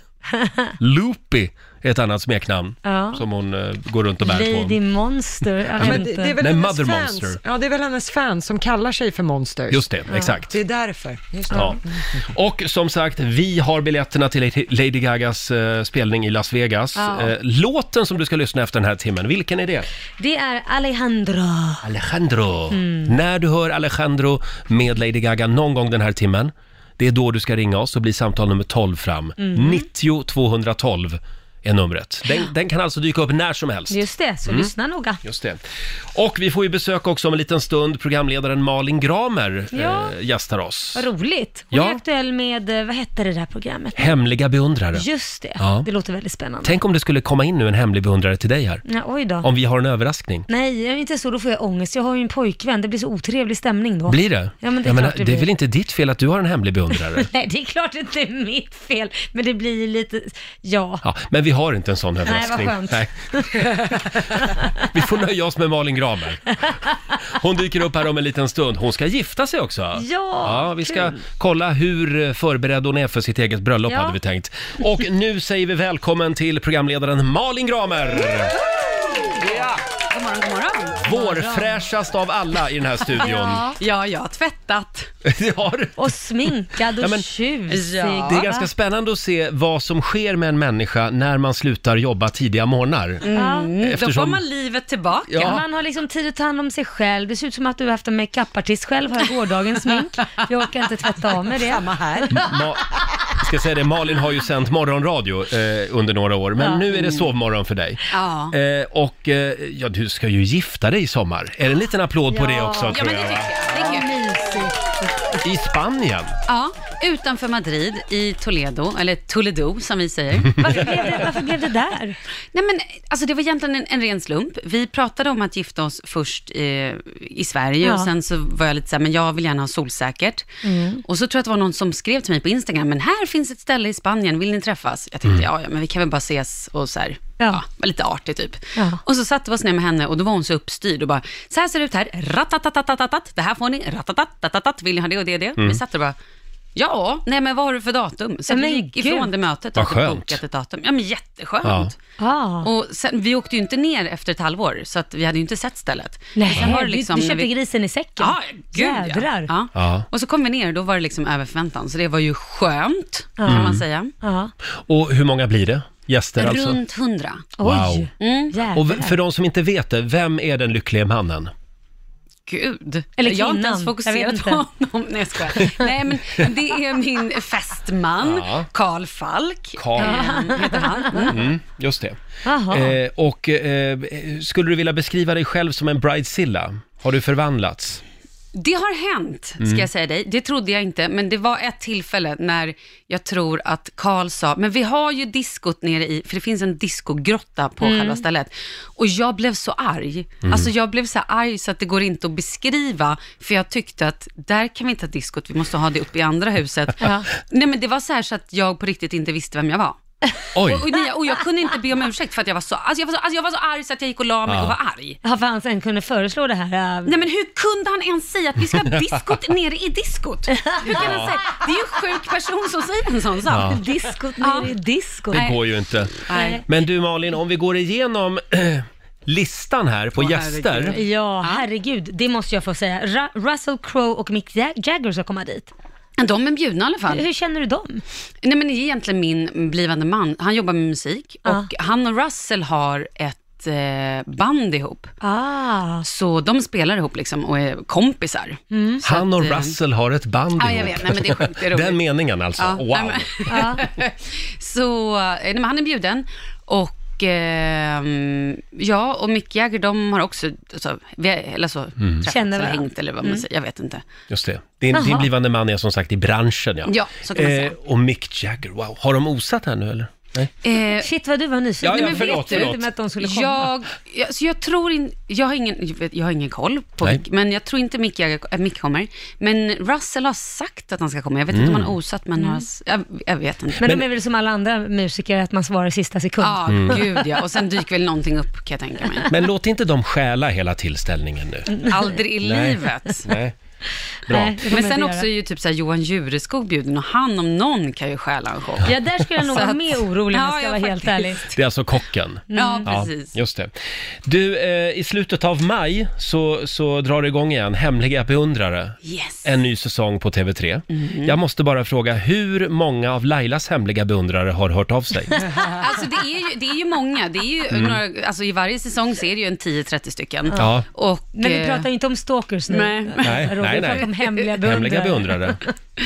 A: Loopy är ett annat smeknamn
C: Ja.
A: som hon eh, går runt och bär
C: Lady
A: på.
C: Monster. Jag
B: Ja,
C: vet
B: men det,
C: inte.
B: det är väl
A: Nej,
B: hennes
A: Mother
B: fans.
A: Monster.
B: Ja, det är väl hennes fans som kallar sig för Monsters.
A: Just det, exakt.
B: Det är därför. Just det.
A: Ja. Och som sagt, vi har biljetterna till Lady Gagas eh, spelning i Las Vegas.
C: Ja.
A: Eh, låten som du ska lyssna efter den här timmen, vilken är det?
C: det är Alejandro.
A: Alejandro.
C: Mm.
A: När du hör Alejandro med Lady Gaga någon gång den här timmen, det är då du ska ringa oss och bli samtal nummer 12 fram.
C: Mm.
A: 90 212 är numret. Den, den kan alltså dyka upp när som helst.
C: Just det, så
A: Mm.
C: lyssna noga.
A: Just det. Och vi får ju besök också om en liten stund. Programledaren Malin Gramer
C: Ja.
A: eh, gästar oss.
C: Vad roligt. Hon
A: Ja.
C: är aktuell med, eh, vad hette det där programmet?
A: Hemliga beundrare.
C: Just det,
A: Ja.
C: det låter väldigt spännande.
A: Tänk om det skulle komma in nu en hemlig beundrare till dig här.
C: Ja, oj då.
A: Om vi har en överraskning.
C: Nej, jag är inte så, då får jag ångest. Jag har ju en pojkvän, det blir så otrevlig stämning då.
A: Blir det?
C: Ja, men det är
A: Jag menar,
C: klart det
A: det är
C: blir.
A: väl inte ditt fel att du har en hemlig beundrare?
C: Nej, det är klart inte är mitt fel, men det blir ju lite, ja.
A: Ja, men vi har inte en sån
C: vad
A: överraskning.
C: skönt.
A: Nej. vi får nöja oss med Malin Gramer. Hon dyker upp här om en liten stund. Hon ska gifta sig också. ja vi ska
C: kul.
A: kolla hur eh, förberedd hon är för sitt eget bröllop,
C: Ja.
A: hade vi tänkt. Och nu säger vi välkommen till programledaren Malin Gramer. Ja.
H: God morgon, god morgon.
A: Vårfräschast av alla i den här studion.
C: Ja.
H: Ja, jag har tvättat.
A: Det har du.
C: Och sminkad och
A: Ja, men-
C: tjusig.
H: Ja.
A: Det är ganska spännande att se vad som sker med en människa när man slutar jobba tidiga morgnar.
C: Mm.
H: Då får
A: Eftersom...
H: man livet tillbaka.
A: Ja.
C: Man har liksom tid att ta hand om sig själv. Det ser ut som att du har haft en makeupartist själv, har jag gårdagens smink. Jag orkar inte tvätta av mig det. Samma här.
A: Ma- ska säga det, Malin har ju sänt morgonradio eh, under några år, men nu är det sovmorgon för dig.
H: Mm. Ja.
A: Eh, och eh, ja, du ska ju gifta dig i sommar. Är det en liten applåd på
C: Ja.
A: det också?
H: Ja,
A: tror
H: men det
A: jag,
H: tycker
A: va?
H: jag. Det är kul.
A: I Spanien.
H: Ja, utanför Madrid i Toledo, eller Toledo som vi säger.
C: Varför blev det, varför blev det där?
H: Nej men alltså det var egentligen en, en ren slump. Vi pratade om att gifta oss först eh, i Sverige
C: Ja.
H: och sen så var jag lite så här, men jag vill gärna ha solsäkert.
C: Mm.
H: Och så tror jag att det var någon som skrev till mig på Instagram, men här finns ett ställe i Spanien, vill ni träffas? Jag
C: Mm.
H: tänkte, ja, ja men vi kan väl bara ses och så här,
C: Ja.
H: ja. var lite artig typ.
C: Ja.
H: Och så satte vi oss ner med henne och då var hon så uppstyrd och bara, så här ser det ut här, ratatatatatatatat, det här får ni, ratatatatat, vill ni ha det och det och
C: Mm.
H: det? Vi satt och bara, Ja, nej men vad har du för datum? Så
C: Men
H: vi gick
C: gud.
H: ifrån det mötet
A: Vad
H: och hade
A: skönt.
H: bokat ett datum. Ja men jätteskönt.
A: Ja.
C: Ah.
H: Och sen, vi åkte ju inte ner efter ett halvår, så att vi hade ju inte sett stället.
C: Nej,
H: sen var det
C: du-
H: liksom
C: du
H: när
C: köpte
H: vi-
C: grisen i säcken.
H: Ja, gud
C: Jädrar.
H: ja. ja.
A: Ja.
H: Och så kom vi ner och då var det liksom över förväntan, så det var ju skönt, kan man säga.
C: Ja.
A: Och hur många blir det? Gäster alltså?
H: Runt hundra. Mm.
A: Wow.
C: Oj, Mm. jädrar.
A: Och v- för de som inte vet det, vem är den lycklige mannen?
H: Gud.
C: Eller
H: Jag har inte ens
C: kvinnan. Jag vet
H: fokuserat
C: inte.
H: på honom. Nej, jag skojar. Nej, men det är min fästman,
A: Ja.
H: Karl Falk.
A: Karl.
H: eh, Heter han. Mm.
A: Mm, just det.
C: Jaha.
A: Eh, och eh, skulle du vilja beskriva dig själv som en bridezilla? Har du förvandlats?
H: Det har hänt, ska jag säga dig. Det trodde jag inte, men det var ett tillfälle när jag tror att Karl sa, men vi har ju diskot nere i, för det finns en diskogrotta på själva stället. Och jag blev så arg. Alltså jag blev så här arg så att det går inte att beskriva, för jag tyckte att där kan vi inte ha diskot, vi måste ha det uppe i andra huset.
C: Ja.
H: Nej men det var så här så att jag på riktigt inte visste vem jag var.
A: Oj!
H: Och, och, nej, och jag kunde inte be om ursäkt för att jag var så, alltså jag var så, alltså jag var så arg så att jag gick och la mig och var arg.
C: Ja, för han sen kunde föreslå det här. äh,
H: Nej men hur kunde han ens säga att vi ska ha diskot nere i diskot? Hur kan han säga? Det är ju en sjuk person som säger en sån sak.
C: Diskot
H: Ja.
C: nere i diskot.
A: Det går ju inte.
H: Nej.
A: Men du Malin, om vi går igenom listan här på gäster.
C: Ja, herregud. Det måste jag få säga. Ra- Russell Crowe och Mick Jag- Jagger ska komma dit.
A: Mm.
H: De är bjudna i alla fall.
C: Hur känner du dem?
H: Nej men det är egentligen min blivande man. Han jobbar med musik
C: Ja.
H: och han och Russell har ett eh, band ihop.
C: Ah.
H: Så de spelar ihop liksom och är kompisar.
A: Han och
H: att, eh,
A: Russell har ett band
H: Ja, jag
A: ihop.
H: vet. Nej, men det är sjukt, det är roligt.
A: Den meningen alltså.
H: Ja,
A: wow!
H: nej,
C: Ja.
H: Så eh, nej, men han är bjuden och ehm, ja, och Mick Jagger de har också alltså, vi, eller
A: Mm.
H: så, träffats
C: Känner
H: eller
C: varandra. Mm.
H: hängt eller vad man säger, jag vet inte.
A: Just det. Din, din
C: Jaha.
A: blivande man är som sagt i branschen ja. Eh,
H: Ja, så kan man säga.
A: och Mick Jagger, wow. Har de osat här nu eller? Nej.
H: Eh,
C: Shit vad du var nyfiken.
A: Ja, ja,
C: Nej, men
A: förlåt,
C: vet du
A: förlåt.
C: inte med att de skulle komma?
H: jag, jag, så jag tror in, jag, har ingen, jag vet- jag har ingen koll på
A: Nej.
H: Mick, men jag tror inte Mick, Jagger, att Mick kommer. Men Russell har sagt att han ska komma. Jag vet inte
A: Mm.
H: om han har osat, men har, s- jag, jag vet inte.
C: Men, de är väl som alla andra musiker, att man svarar i sista sekund.
H: Ja,
A: Mm.
H: gud ja. Och sen dyker väl någonting upp, kan jag tänka mig.
A: Men låt inte dem stjäla hela tillställningen nu.
H: Aldrig i
A: Nej.
H: livet.
A: Nej. Bra.
C: Nej, det
H: Men
C: får man
H: sen
C: inte
H: också är
C: göra.
H: ju typ så här Johan Jureskog bjuden och han om någon kan ju stjäla en show.
C: Ja, där skulle jag nog
H: Så
C: vara
H: att-
C: mer orolig om jag
H: Ja,
C: ska
H: ja,
C: vara helt
H: faktiskt.
C: ärlig.
A: Det är alltså kocken.
H: Mm. Ja,
A: Ja,
H: precis.
A: just det. Du, eh, i slutet av maj så, så drar det igång igen, Hemliga beundrare.
H: Yes. Mm.
A: En ny säsong på TV3. Jag måste bara fråga, hur många av Lailas hemliga beundrare har hört av sig?
H: Alltså det är ju, det är ju många. Det är ju några, alltså i varje säsong så är det ju en 10-30 stycken.
A: Mm. Ja.
H: Och,
C: Men vi
H: eh,
C: pratar ju inte om stalkers nu.
H: Nej.
A: Nej,
C: Roger,
A: nej,
C: vi
A: nej.
C: pratar om hemliga beundrare.
A: hemliga beundrare.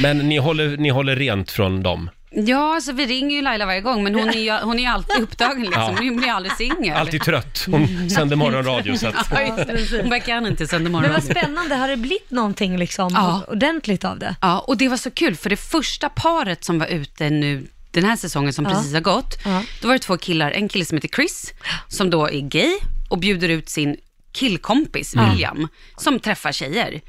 A: Men ni håller, ni håller rent från dem?
H: Ja, alltså vi ringer ju Laila varje gång, men hon är ju, hon är ju alltid upptagen liksom.
A: Ja.
H: Hon blir aldrig singel.
A: Alltid trött.
H: Mm.
A: Hon sänder morgonradio så att...
H: Ja, just det. Hon verkar gärna inte sända
C: Men
H: morgon.
C: vad spännande, har det blivit någonting liksom
H: Ja.
C: ordentligt av det?
H: Ja, och det var så kul, för det första paret som var ute nu den här säsongen som precis har gått,
C: Ja.
H: då var det två killar, en kille som heter Chris, som då är gay och bjuder ut sin killkompis
A: Mm.
H: William, som träffar tjejer.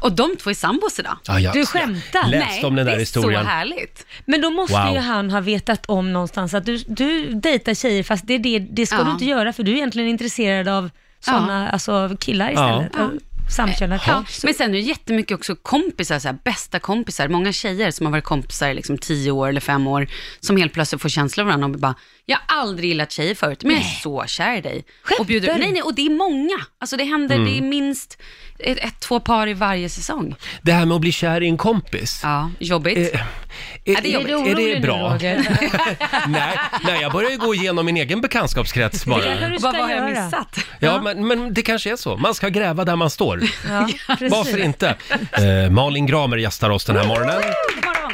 H: Och de två är sambos idag.
A: Ah. Ja, jag-
C: Du skämtar?
A: jag Läste om den där
H: det är
A: historien.
H: så härligt.
C: Men då måste
A: Wow.
C: ju han ha vetat om någonstans att du, du dejtar tjejer fast det, är det, det ska
H: Ja.
C: du inte göra för du är egentligen intresserad av sådana alltså, killar istället.
A: Ja.
C: samkönat
H: Ja,
C: par.
H: men sen är det jättemycket också kompisar, så här, bästa kompisar. Många tjejer som har varit kompisar i liksom tio år eller fem år, som helt plötsligt får känsla av varandra och bara, jag har aldrig gillat tjejer förut, men jag är så kär i dig.
C: Skämtar
H: och bjuder,
C: du?
H: Nej, nej, och det är många. Alltså det händer, det
A: Mm.
H: är minst ett, ett, två par i varje säsong.
A: Det här med att bli kär i en kompis.
H: Ja, jobbigt.
A: Eh, Är,
H: det
A: är,
H: jobbigt.
A: det, bra? nej, nej, jag börjar ju gå igenom min egen bekantskapskrets bara.
C: kanske du
H: och bara,
C: ska
H: vad har jag
C: göra.
H: missat?
A: Ja, men, men det kanske är så. Man ska gräva där man står.
C: Ja, precis.
A: Varför inte? Eh, Malin Gramer gästar oss den här morgonen.
H: God morgon.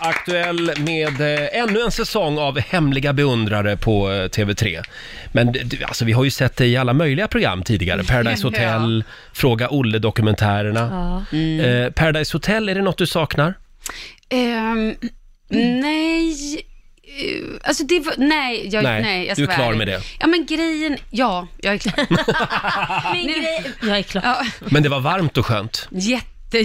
A: Aktuell med eh, ännu en säsong av Hemliga beundrare på eh, TV3. Men d- d- alltså, vi har ju sett det i alla möjliga program tidigare. Paradise
H: Ja.
A: Hotel, Fråga Olle-dokumentärerna. Eh, Paradise Hotel, är det något du saknar?
H: Ehm, nej. eh, Alltså det var, nej, jag,
A: Nej,
H: nej, jag
A: du är
H: ska vara
A: klar
H: ärlig.
A: med det.
H: Ja, men grejen, ja, jag är klar.
C: Min grej... Jag är klar.
H: Ja,
A: Men det var varmt och skönt.
H: jätte,
A: Mm.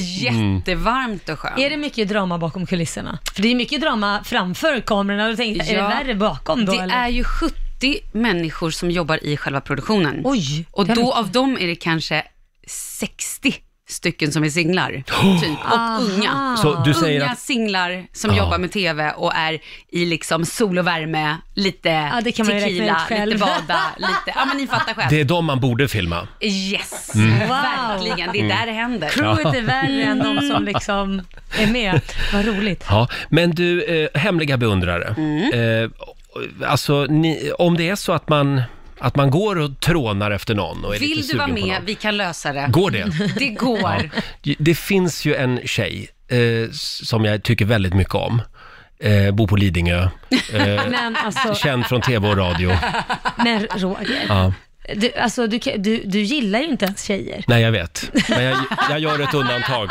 H: jättevarmt och skönt.
C: Är det mycket drama bakom kulisserna? För det är mycket drama framför kamerorna. Och tänkte, Är
H: Ja.
C: det värre bakom då?
H: Det
C: eller?
H: är ju 70 människor som jobbar i själva produktionen.
C: Oj,
H: och
C: det är
H: då
C: mycket.
H: av dem är det kanske 60 stycken som är singlar, typ. Och unga.
A: Så du säger
H: unga
A: att...
H: singlar som
A: Ja.
H: jobbar med TV och är i liksom sol och värme, lite
C: Ja, det kan man ju räkna
H: tequila,
C: ut själv.
H: lite bada, lite, ja men ni fattar själv.
A: Det är de man borde filma.
H: Yes,
A: Mm.
C: Wow.
H: verkligen. Det är där det händer. Mm.
C: Crewet är värre än de som liksom är med. Vad roligt.
A: Ja, men du, eh, hemliga beundrare.
H: Mm.
A: Eh, alltså, ni, om det är så att man, att man går och trånar efter någon och är lite
H: Vill du
A: sugen
H: vara
A: på
H: med?
A: någon.
H: Vi kan lösa det.
A: Går det?
H: Det går.
A: Ja. Det finns ju en tjej eh, som jag tycker väldigt mycket om. Eh, bor på Lidingö, Eh,
C: Men alltså,
A: känd från tv och radio.
C: men Roger.
A: Ja.
C: Du, alltså, du, kan- du, du gillar ju inte ens tjejer.
A: Nej, jag vet. Men jag, jag gör ett undantag.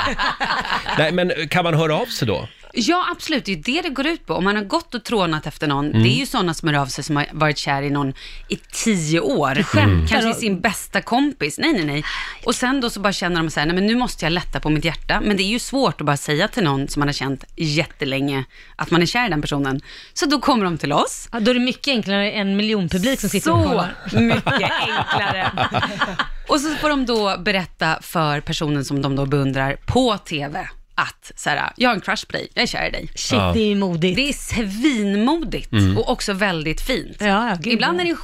A: Nej, men kan man höra av sig då?
H: Ja, absolut. Det är ju det det går ut på. Om man har gått och trånat efter någon, det är ju sådana som hör av sig som har varit kär i någon i tio år. Kanske i sin bästa kompis. Nej, nej, nej. Och sen då så bara känner de så här, nej men nu måste jag lätta på mitt hjärta. Men det är ju svårt att bara säga till någon som man har känt jättelänge att man är kär i den personen. Så då kommer de till oss.
C: Ja, då är det mycket enklare än en miljon publik som sitter och
H: Så
C: kollar.
H: mycket enklare. Och så får de då berätta för personen som de då beundrar på TV att så här, jag har en crush på dig, jag är kär i dig.
C: Shit, det är ju modigt.
H: Det är svinmodigt och också väldigt fint.
C: Ja, ja, gud,
H: ibland
C: ja.
H: är det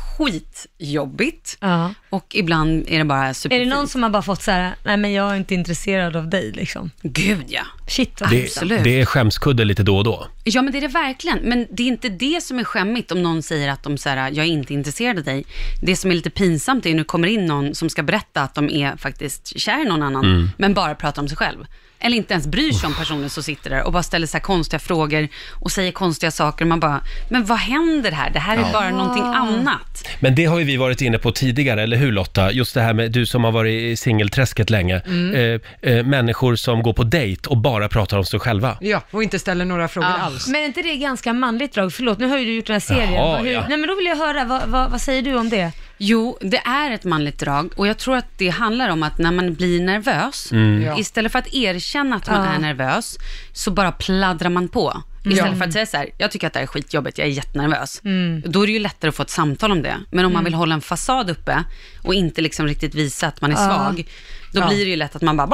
H: skitjobbigt
C: Ja.
H: och ibland är det bara
C: Är
H: superfint.
C: det någon som har bara fått så här, nej men jag är inte intresserad av dig liksom.
H: Gud ja.
C: Shit vad
A: Det,
H: Absolut.
A: det är skämskudde lite då och då.
H: Ja, men det är det verkligen. Men det är inte det som är skämmigt om någon säger att de så här, jag är inte intresserad av dig. Det som är lite pinsamt är när det kommer in någon som ska berätta att de är faktiskt kär i någon annan, men bara pratar om sig själv. Eller inte ens bryr sig om personen som sitter där och bara ställer så här konstiga frågor och säger konstiga saker. Man bara, men vad händer här? Det här är bara någonting annat.
A: Men det har ju vi varit inne på tidigare, eller hur Lotta? Just det här med du som har varit i singelträsket länge. Eh, eh, människor som går på dejt och bara pratar om sig själva.
B: Ja, och inte ställer några frågor alls.
C: Men är inte det ganska manligt drag? Förlåt, nu har ju du gjort den här serien.
A: Jaha,
C: Vad- hur,
A: ja.
C: Nej men då vill jag höra, vad, vad, vad säger du om det?
H: Jo, det är ett manligt drag och jag tror att det handlar om att när man blir nervös,
A: Mm.
B: Ja.
H: istället för att erkänna att man
C: Ja. Mm.
H: är nervös, så bara pladdrar man på. Istället för att säga så här, jag tycker att det här är skitjobbigt, jag är jättenervös.
C: Mm.
H: Då är det ju lättare att få ett samtal om det. Men om man vill hålla en fasad uppe och inte liksom riktigt visa att man är svag, då blir det ju lätt att man bara...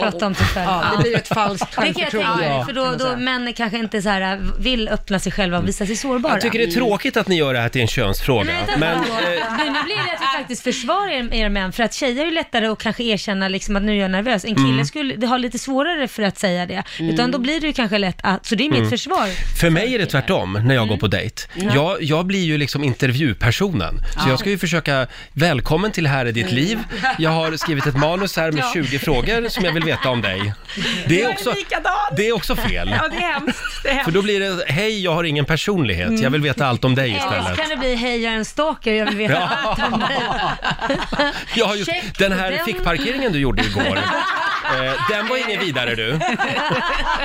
C: Prata om sig själv.
B: Ja, det blir ett falskt
C: Det kan jag tänka
B: självförtroende.
C: mig, för då, då män kanske inte så här, äh, vill öppna sig själva och visa sig sårbara.
A: Jag tycker det är tråkigt att ni gör det här till en könsfråga.
C: Mm. Nej, vänta,
A: Men, eh,
C: vänta. Men nu blir det att vi faktiskt försvarar er, er män, för att tjejer är ju lättare att kanske erkänna liksom att nu är jag nervös. En
A: Mm.
C: kille skulle det har lite svårare för att säga det, utan då blir det ju kanske lätt att, så det är mitt
A: Mm.
C: försvar.
A: För mig är det tvärtom när jag går på dejt. Jag, jag blir ju liksom intervjupersonen. Så jag ska ju försöka, välkommen till Här är ditt liv. Jag har skrivit ett manus här med 20 frågor som jag vill veta om dig. Det är också, det är också fel.
H: det är hemskt. Det är
A: För
H: hemskt.
A: då blir det, hej jag har ingen personlighet, jag vill veta allt om dig
C: Eller så
A: istället.
C: kan det bli, hej jag är en stalker, jag vill veta
A: Ja.
C: allt om dig.
A: Jag har just,
C: Check
A: den här
C: den.
A: fickparkeringen du gjorde igår, eh, den var ingen vidare du.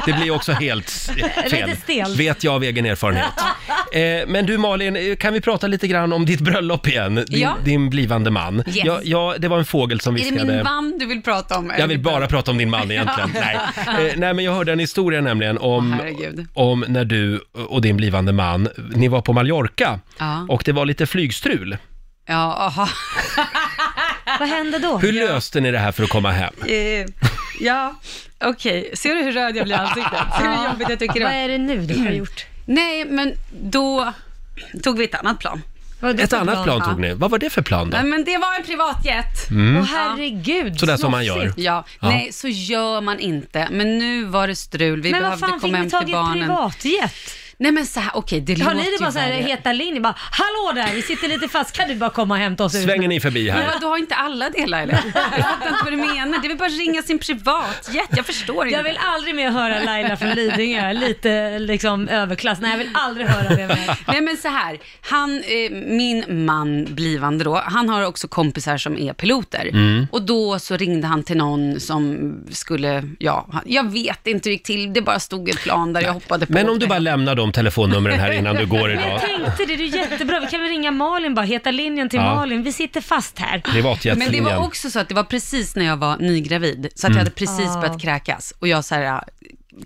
A: Det blir också helt s- fel,
C: Lite stel.
A: vet jag av egen erfarenhet. Eh, men du Malin, eh, kan vi prata lite grann om ditt bröllop igen? Din,
H: Ja.
A: din blivande man.
H: Yes.
A: Ja, ja, det var en fågel som
H: Är det min
A: viskade.
H: man du vill prata om?
A: Jag vill bara prata om din man egentligen. Nej. Eh, nej, men jag hörde en historia nämligen om,
H: Åh, herregud.
A: om när du och din blivande man, ni var på Mallorca
H: Ja.
A: och det var lite flygstrul.
H: Ja, aha.
C: Vad händer då?
A: Hur löste ni det här för att komma hem?
H: Eh, ja, okej. Ser du hur röd jag blir i ansiktet? Ser du hur jobbigt jag tycker det
C: Vad
H: var?
C: är det nu du har gjort?
H: Nej, men då tog vi ett annat plan.
C: Vad
A: Ett annat plan tog ni. Vad var det för plan då?
H: Nej, men det var en privatjet.
C: Mm. Åh herregud,
A: Sådär som man gör.
C: snofsigt.
H: Ja,
A: Ja.
H: nej så gör man inte. Men nu var det strul, vi
C: Men vad
H: behövde
C: fan fick
H: komma
C: ni
H: hem
C: tag
H: till
C: i en
H: barnen.
C: privatjet?
H: Nej men så här, okej det
C: Har
H: låter
C: ni det bara
H: ju
C: såhär
H: värre.
C: heta linjen bara, hallå där, vi sitter lite fast, kan du bara komma och hämta oss ut?
A: Svänger ni förbi
H: Men
A: här?
H: vadå, har inte alla delar eller? Jag fattar inte vad du menar. Det är väl bara att ringa sin privatjet, jag förstår inte.
C: Jag vill aldrig mer höra Laila från Lidingö, lite liksom överklass. Nej, jag vill aldrig höra det mer.
H: Nej men så här, han, eh, min man blivande då, han har också kompisar som är piloter.
A: Mm.
H: Och då så ringde han till någon som skulle, ja, han- jag vet inte hur det gick till, det bara stod ett plan där jag hoppade på.
A: Men om du bara lämnar de telefonnumren här innan du går
C: Men
A: idag.
C: jag tänkte det, det är jättebra. Vi kan väl ringa Malin bara, heta linjen till
A: Ja.
C: Malin, vi sitter fast här.
H: Men det var
A: Privatjetslinjen.
H: också så att det var precis när jag var nygravid, så att
A: Mm.
H: jag hade precis
C: Ah.
H: börjat kräkas. Och jag så här, äh,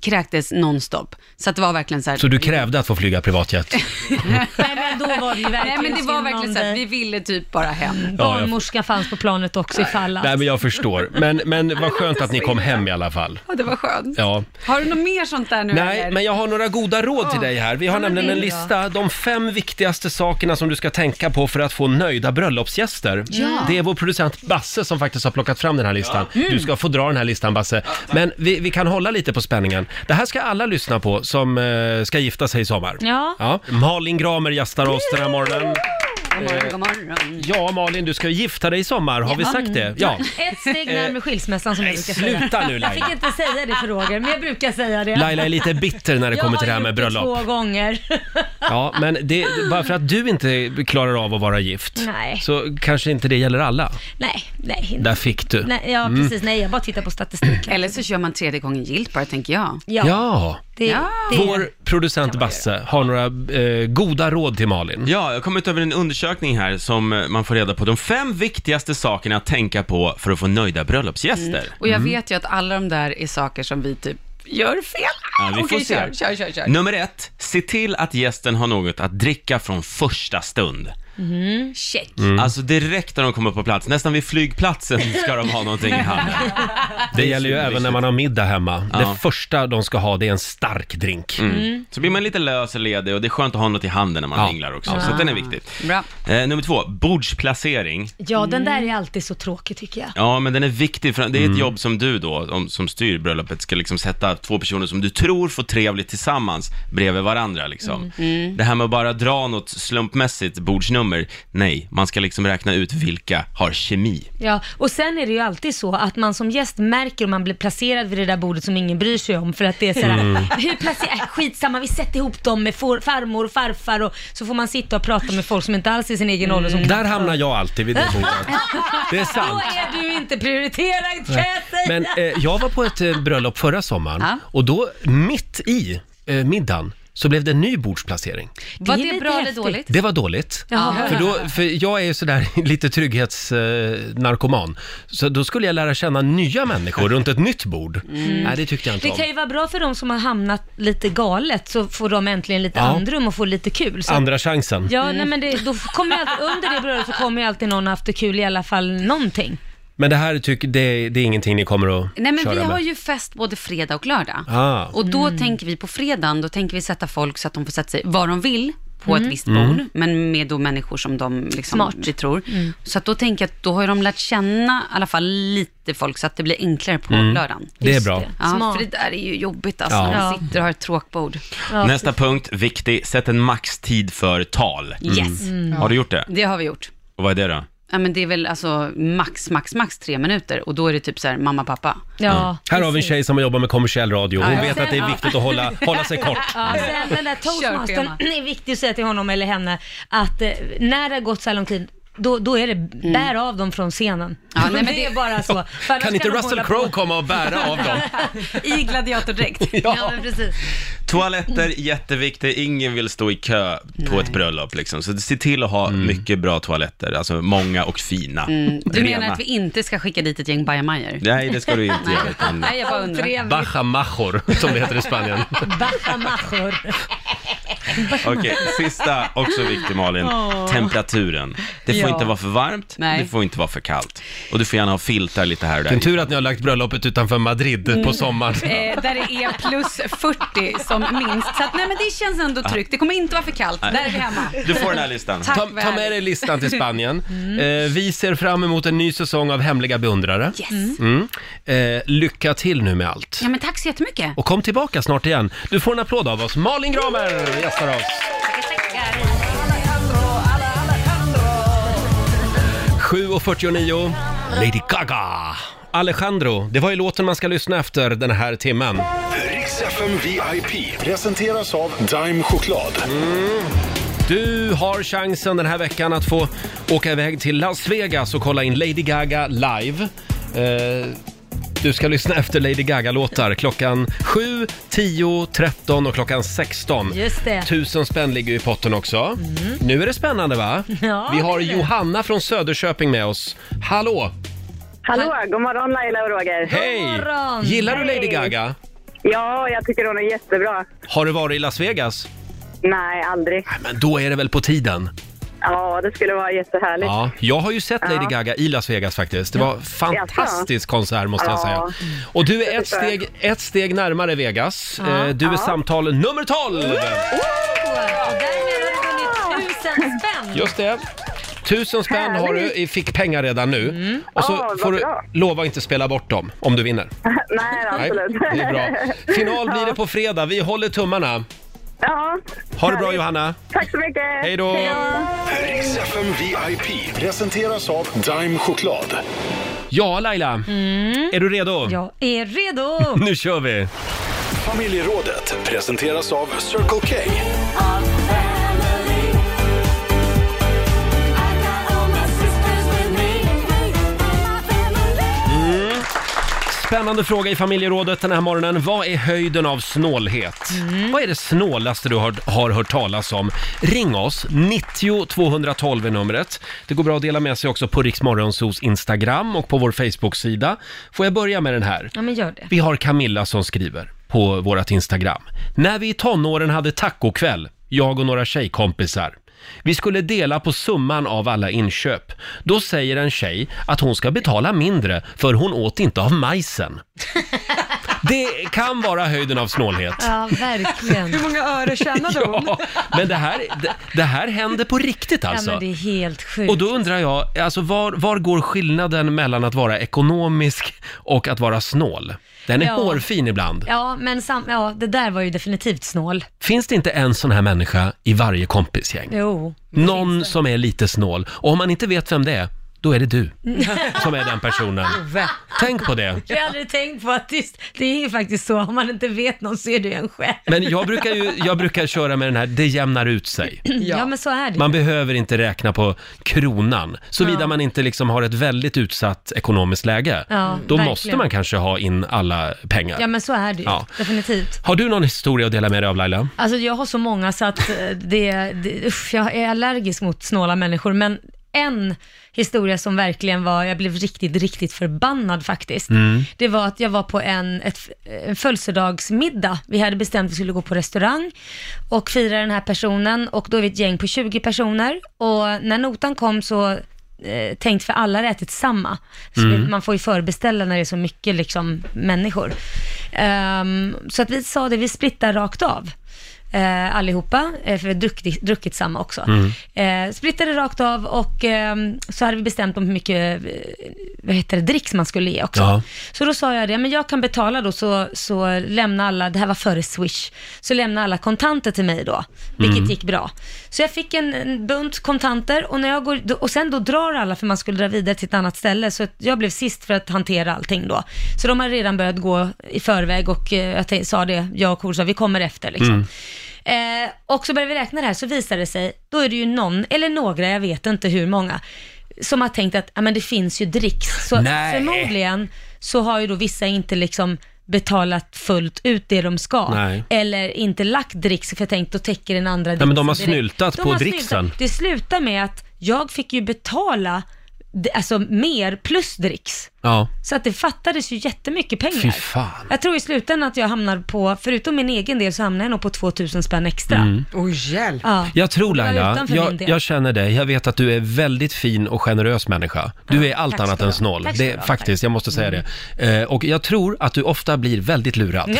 H: kräktes nonstop. Så att det var verkligen så här...
A: Så du krävde att få flyga privatjet?
C: Nej men då var det ju verkligen
H: Nej men det var
C: synd
H: verkligen
C: om
H: så
C: dig.
H: att vi ville typ bara hem.
C: Barnmorskan fanns på planet också ifall att.
A: Nej, men jag förstår. Men, men vad skönt att ni kom hem i alla fall.
H: Ja, det var skönt.
A: Ja.
H: Har du något mer sånt där nu
A: Nej,
H: eller?
A: men jag har några goda råd till dig här. Vi har
C: men
A: nämligen en
C: det är
A: lista, de fem viktigaste sakerna som du ska tänka på för att få nöjda bröllopsgäster. Det är vår producent Basse som faktiskt har plockat fram den här listan. Du ska få dra den här listan Basse. Men vi, vi kan hålla lite på spänningen. Det här ska alla lyssna på som eh, ska gifta sig i sommar.
C: Ja.
A: Malin Gramer gästar oss den här morgonen. Eh,
H: God morgon, god morgon.
A: Ja, Malin, du ska ju gifta dig i sommar. Har vi sagt det? Ja.
C: Mm.
A: Eh,
C: Ett steg närmare skilsmässan som jag brukar säga.
A: Sluta nu
C: Jag
A: Laila.
C: fick inte säga det för Roger, men jag brukar säga det.
A: Laila är lite bitter när det
C: jag
A: kommer
C: har
A: till det här med
C: gjort det
A: bröllop.
C: två gånger.
A: Ja, men det, bara för att du inte klarar av att vara gift
C: Nej.
A: så kanske inte det gäller alla.
C: nej, nej.
A: Där fick du. Mm.
C: nej ja, precis. Nej, jag bara tittar på statistiken.
H: Eller så kör man tredje gången gillt bara, tänker jag.
C: Ja,
A: Ja.
C: Det,
H: Ja.
C: Det,
A: Vår producent Basse har några eh, goda råd till Malin.
G: Ja, jag har kommit över en undersökning här som eh, man får reda på de fem viktigaste sakerna att tänka på för att få nöjda bröllopsgäster.
H: Mm.
G: Mm.
H: Och jag
A: Mm.
H: vet ju att alla de där är saker som vi typ gör fel.
G: Ja, vi får
H: Okej,
G: se.
H: kör, kör, kör, kör.
G: Nummer ett, se till att gästen har något att dricka från första stund.
C: Mm-hmm.
H: Check.
A: Mm.
G: Alltså direkt när de kommer på plats, nästan vid flygplatsen ska de ha någonting i handen.
A: Det gäller ju även när man har middag hemma.
G: Ja. Mm.
A: Det första de ska ha det är en stark drink.
G: Så blir man lite lös och ledig och det är skönt att ha något i handen när man
A: Ja.
G: ringlar också, så att den är viktig.
H: Bra.
G: Eh, nummer två, bordsplacering.
C: ja, den där är alltid så tråkig tycker jag.
G: Ja, men den är viktig, för det är ett
A: Mm.
G: jobb som du då, om, som styr bröllopet, ska liksom sätta två personer som du tror får trevligt tillsammans bredvid varandra
C: Mm.
G: liksom.
A: Mm.
G: Det här med att bara dra något slumpmässigt bordsnummer, nej, man ska liksom räkna ut vilka har kemi.
C: Ja, och sen är det ju alltid så att man som gäst märker om man blir placerad vid det där bordet som ingen bryr sig om för att det är sådär,
A: Mm.
C: hur placerar, äh, skitsamma vi sätter ihop dem med for, farmor och farfar och så får man sitta och prata med folk som inte alls är i sin egen ålder. Som
A: Mm. Där hamnar jag alltid vid det bordet. Det är
C: Då
A: sant.
C: är du inte prioriterad kan jag säga.
A: Men eh, jag var på ett eh, bröllop förra sommaren
H: Ja.
A: och då mitt i eh, middagen så blev det en ny bordsplacering.
H: Var
C: är
H: det,
C: lite
H: bra eller
C: häftigt.
H: dåligt?
A: Det var dåligt.
C: Jaha.
A: För, då, för jag är ju sådär lite trygghetsnarkoman. Så då skulle jag lära känna nya människor runt ett nytt bord. mm. Nej, det tyckte jag inte
C: Mm. Det
A: om.
C: kan ju vara bra för de som har hamnat lite galet så får de äntligen lite
A: Ja.
C: andrum och får lite kul. Så att-
A: Andra chansen.
C: Ja, nej men det, då kommer ju alltid, under det bröllopet så kommer ju alltid någon ha haft det kul i alla fall någonting.
A: Men det här tyck, det, det är ingenting ni kommer att
H: Nej, men
A: köra
H: vi har
A: med?
H: ju fest både fredag och lördag.
A: Ah.
H: Och då
C: Mm.
H: tänker vi på fredagen, då tänker vi sätta folk så att de får sätta sig var de vill på ett visst bord,
A: Mm.
H: men med då människor som de liksom,
C: Mm. Smart. Mm.
H: vi tror. Så att då tänker jag att då har ju de lärt känna i alla fall lite folk så att det blir enklare på lördagen.
A: Mm. Det är
C: Just
A: bra.
C: det.
H: Ja,
C: Smart.
H: för det där är ju jobbigt alltså,
A: Ja.
H: när man
C: Ja.
H: sitter och har ett tråkbord.
C: Ja,
G: Nästa punkt, viktig, sätt en maxtid för tal. Mm.
H: Yes,
A: Mm.
C: Mm.
G: Har du gjort det?
H: det har vi gjort.
G: Och vad är det då?
H: Ja, men det är väl alltså max, max, max tre minuter och då är det typ så här mamma, pappa.
C: Ja,
A: Mm. Här har vi en
C: precis.
A: tjej som jobbar med kommersiell radio. Hon
H: Ja, ja.
A: vet att det är viktigt att hålla, hålla sig kort.
C: Ja, sen den där toastmastern
H: Körschema.
C: är viktig att säga till honom eller henne att eh, när det har gått så här lång tid, då, då är det bär av dem från scenen.
H: Mm. Ja, nej, men
C: det är
H: det-
C: bara så. För annars
A: Kan inte
C: de
A: Russell
C: hålla
A: Crowe
C: på-
A: komma och bära av dem?
H: I gladiatordräkt.
C: Ja, men precis.
G: Toaletter, jätteviktigt. Ingen vill stå i kö på ett bröllop liksom. Så se till att
A: Mm.
G: ha mycket bra toaletter, alltså många och fina.
H: Mm. Du menar
G: Rena.
H: att vi inte ska skicka dit ett gäng bajamajor?
G: Nej, det ska du inte göra. utan-
H: Nej, jag bara undrar.
A: Baja major, som det heter i Spanien.
C: Bajamajor.
G: Okej, sista, också viktig Malin. Temperaturen. Det får
B: Ja.
G: inte vara för varmt,
H: Nej.
G: det får inte vara för kallt. Och du får gärna ha filtar lite här och
A: Vilken
G: där.
A: tur att ni har lagt bröllopet utanför Madrid på sommaren.
H: Eh, där det är plus 40 som minst. Så att, nej, men det känns ändå tryggt. Det kommer inte vara för kallt. Där är vi hemma.
G: Du får den här listan.
H: Tack. Mm.
A: Ta, ta med dig listan till Spanien. Eh, vi ser fram emot en ny säsong av Hemliga beundrare.
H: Yes.
A: Mm. Eh, lycka till nu med allt.
H: Ja, men tack så jättemycket.
A: Och kom tillbaka snart igen. Du får en applåd av oss. Malin Gramer gästar oss.
H: Tackar.
A: 7.49, Lady Gaga. Alejandro, det var ju låten man ska lyssna efter den här timmen.
E: Riks FM VIP presenteras av Dime Choklad.
F: Mm.
A: Du har chansen den här veckan att få åka iväg till Las Vegas och kolla in Lady Gaga live. Eh, du ska lyssna efter Lady Gaga-låtar klockan 7, 10, 13 och klockan 16.
C: Just det. Mm.
A: Tusen spänn ligger ju i potten också. Nu är det spännande va?
C: Ja,
A: Vi har
C: det är det.
A: Johanna från Söderköping med oss. Hallå!
I: Hallå, god morgon Laila och Roger.
A: Hej!
C: morgon!
A: Gillar du Lady
I: Hej.
A: Gaga?
I: Ja, jag tycker hon är jättebra.
A: Har du varit i Las Vegas?
I: Nej, aldrig.
A: Nej, men då är det väl på tiden.
I: Ja, det skulle vara jättehärligt.
A: Ja, jag har ju sett Lady
I: Ja.
A: Gaga i Las Vegas faktiskt. Det var fantastisk konsert måste jag
I: Ja.
A: säga. Och du är ett
I: förstår jag.
A: steg, ett steg närmare Vegas.
C: Ja.
A: Eh, Du är samtal nummer 12!
I: Mm.
C: Och därmed har du vunnit tusen spänn!
A: Just det. Tusen spänn har du i fickpengar redan nu. Och så
I: Mm. Ja, vad
A: får du
I: bra.
A: lova att inte spela bort dem om du vinner.
I: Nej,
A: Nej,
I: absolut.
A: det är bra. Final blir det på fredag. Vi håller tummarna.
I: Ja.
A: Ha det bra
I: Härligt.
A: Johanna!
I: Tack så mycket.
A: Hej då!
E: Riks FM VIP presenteras av Dime Choklad.
A: Ja Laila,
I: Mm.
A: är du redo?
C: Jag är redo!
A: Nu kör vi!
E: Familjerådet presenteras av Circle K.
A: Spännande fråga i familjerådet den här morgonen. Vad är höjden av snålhet?
C: Mm.
A: Vad är det snålaste du har, har hört talas om? Ring oss, 90 212 är numret. Det går bra att dela med sig också på Riksmorgonsos Instagram och på vår Facebook-sida. Får jag börja med den här?
C: Ja men gör det.
A: Vi har Camilla som skriver på vårt Instagram. När vi i tonåren hade tacokväll, jag och några tjejkompisar. Vi skulle dela på summan av alla inköp. Då säger en tjej att hon ska betala mindre för hon åt inte av majsen. Det kan vara höjden av snålhet.
C: Ja verkligen.
B: Hur många öre tjänade hon?
A: Ja, men det här, det, det här händer på riktigt
C: Ja
A: alltså.
C: men det är helt sjukt.
A: Och då undrar jag, alltså var, var går skillnaden mellan att vara ekonomisk och att vara snål? Den är
C: Ja.
A: hårfin ibland.
C: Ja men sam- ja, det där var ju definitivt snål.
A: Finns det inte en sån här människa i varje kompisgäng?
C: Jo.
A: Någon som är lite snål. Och om man inte vet vem det är, då är det du som är den personen. Tänk på det.
C: Jag har aldrig tänkt på att det, det är ju faktiskt så, om man inte vet någon så är det ju en själv.
A: Men jag brukar ju jag brukar köra med den här, det jämnar ut sig.
C: Ja. men så är det
A: Man behöver inte räkna på kronan, såvida
C: Ja.
A: man inte liksom har ett väldigt utsatt ekonomiskt läge.
C: Ja,
A: Då
C: verkligen.
A: måste man kanske ha in alla pengar.
C: Ja men så är det ju,
A: Ja.
C: definitivt.
A: Har du någon historia att dela med dig av Laila?
C: Alltså jag har så många så att eh, det, det usch, jag är allergisk mot snåla människor, men en historia som verkligen var, jag blev riktigt, riktigt förbannad faktiskt.
A: Mm.
C: Det var att jag var på en, ett, en födelsedagsmiddag. Vi hade bestämt att vi skulle gå på restaurang och fira den här personen och då är vi ett gäng på 20 personer och när notan kom så eh, tänkt för alla hade ätit samma. Så Man får ju förbeställa när det är så mycket liksom, människor. Ehm, så att vi sa det, vi splittar rakt av. Eh, allihopa, eh, för vi har druckit, druckit samma också.
B: Mm.
A: Mm.
C: Eh, splittade rakt av och ehm, så hade vi bestämt om hur mycket eh, vad heter det, dricks man skulle ge också.
A: Ja.
C: Så då sa jag det, men jag kan betala då, så, så lämna alla, det här var före Swish, så lämna alla kontanter till mig då, vilket gick bra. Så jag fick en, en bunt kontanter och, när jag går, och sen då drar alla för man skulle dra vidare till ett annat ställe, så att jag blev sist för att hantera allting då. Så de hade redan börjat gå i förväg och eh, jag t- sa det, jag och Kor sa, vi kommer efter liksom.
H: Mm.
G: Mm.
C: Eh, och så började vi räkna det här, så visade det sig, då är det ju någon, eller några, jag vet inte hur många, som har tänkt att ja, men det finns ju dricks, så
A: Nej.
C: förmodligen så har ju då vissa inte liksom betalat fullt ut det de ska.
A: Nej.
C: Eller inte lagt dricks, för jag tänkte då täcker den andra
A: men de har
C: dricksen direkt.
A: snyltat
C: De
A: på
C: har
A: dricksen.
C: snyltat. Det slutar med att jag fick ju betala d- alltså mer plus dricks.
A: Ja.
C: Så att det fattades ju jättemycket pengar.
A: Fy fan.
C: Jag tror i slutändan att jag hamnar på, förutom min egen del, så hamnar jag nog på 2000 spänn extra.
A: Mm.
B: Oj, hjälp.
C: Ja.
A: Jag tror
C: Det var
A: Laila,
C: utanför min
A: jag,
C: del.
A: jag känner dig. Jag vet att du är väldigt fin och generös människa. Du är allt
C: tack
A: annat
C: ska du
A: än
C: ha.
A: snål.
C: Tack Mm. ska
A: Det,
C: du ha,
A: faktiskt, jag måste säga det. Eh, och jag tror att du ofta blir väldigt lurad.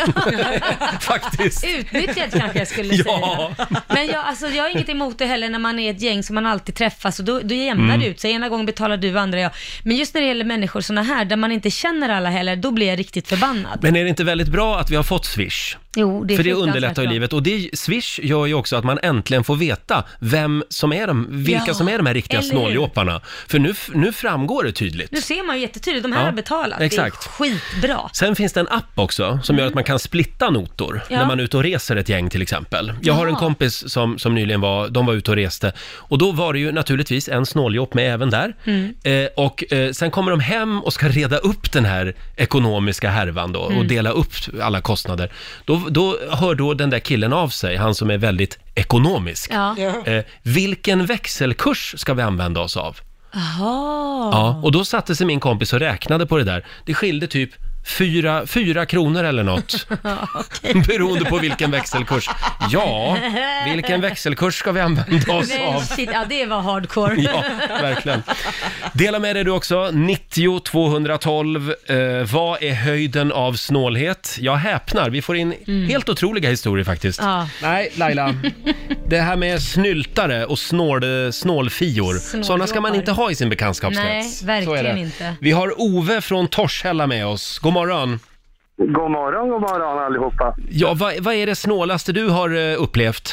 A: faktiskt.
C: Utnyttjad kanske jag skulle
A: Ja.
C: säga. Men jag, alltså, jag har inget emot det heller när man är ett gäng som man alltid träffas och då, då jämnar
A: Mm.
C: det ut sig. Ena gången betalar du, andra jag. Men just när det gäller människor sådana här, där man inte känner alla heller, då blir jag riktigt förbannad.
A: Men är det inte väldigt bra att vi har fått Swish?
C: Jo, det är
A: För det
C: fruktansvärt
A: underlättar ju
C: bra.
A: livet. Och det, Swish gör ju också att man äntligen får veta vem som är de, vilka
C: Ja,
A: som är de här riktiga
C: eller hur?
A: snåljåparna. För nu, f- nu framgår det tydligt.
C: Nu ser man ju jättetydligt, de här
A: Ja,
C: har betalat.
A: exakt.
C: Det är skitbra.
A: Sen finns det en app också som gör att man kan splitta notor
C: Mm. Ja.
A: när man är ute och reser ett gäng till exempel. Jag har en
C: Ja.
A: kompis som, som nyligen var, de var ute och reste och då var det ju naturligtvis en snåljåp med även där. Eh, och eh, sen kommer de hem och ska reda upp den här ekonomiska härvan då
C: Mm.
A: och dela upp alla kostnader. Då, då hör då den där killen av sig, han som är väldigt ekonomisk.
C: Ja.
A: Eh, vilken växelkurs ska vi använda oss av?
C: Jaha.
A: Ja, och då satte sig min kompis och räknade på det där. Det skilde typ fyra, fyra kronor eller något. Beroende på vilken växelkurs. Ja, vilken växelkurs ska vi använda oss
C: Men
A: av?
C: shit, ja det var hardcore.
A: Ja, verkligen. Dela med dig du också. 90 212. Eh, vad är höjden av snålhet? Jag häpnar. Vi får in helt otroliga historier faktiskt.
C: Ja.
A: Nej, Laila. Det här med snyltare och snål, snålfior.
C: Snåljåpar.
A: Sådana ska man inte ha i sin bekantskapskrets.
C: Nej,
A: Så är
C: verkligen
A: det.
C: inte.
A: Vi har Ove från Torshälla med oss. God morgon.
J: God morgon, god morgon allihopa.
A: Ja, vad, vad är det snålaste du har eh, upplevt?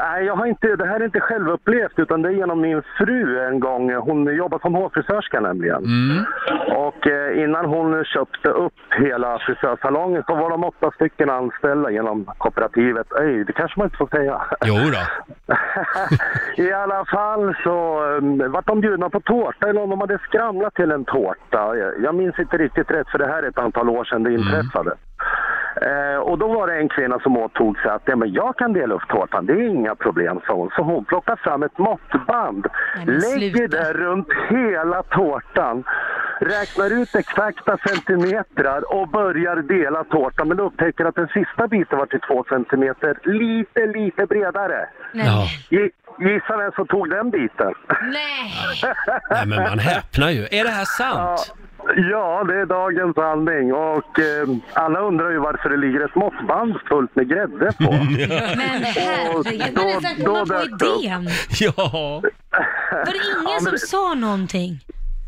J: Nej, jag har inte, det här är inte självupplevt utan det är genom min fru en gång. Hon jobbar som hårfrisörska nämligen. Och eh, innan hon köpte upp hela frisörsalongen så var de åtta stycken anställda genom kooperativet. Öj, det kanske man inte får säga.
A: Jo då.
J: I alla fall så um, vart de bjudna på tårta eller om de hade skramlat till en tårta. Jag- Jag minns inte riktigt rätt för det här är ett antal år sedan det
C: Mm.
J: inträffade. Eh, och då var det en kvinna som åtog sig att ja, men jag kan dela upp tårtan, det är inga problem, sa hon. Så hon plockar fram ett måttband,
C: Nej, men
J: lägger
C: sluta.
J: det runt hela tårtan, räknar ut exakta centimetrar och börjar dela tårtan men upptäcker att den sista biten var till två centimeter lite, lite bredare.
C: Nej.
A: Ja.
J: Gi- Gissa vem som tog den biten?
C: Nej.
A: Nej, men man häpnar ju. Är det här sant?
J: Ja, det är dagens sanning. Och eh, alla undrar ju varför det ligger ett måttband fullt med grädde på.
C: Men herregud,
J: då-
C: hur fan kom
J: då
C: man på
J: dök det upp.
C: idén?
A: Ja.
C: Var det ingen som sa någonting?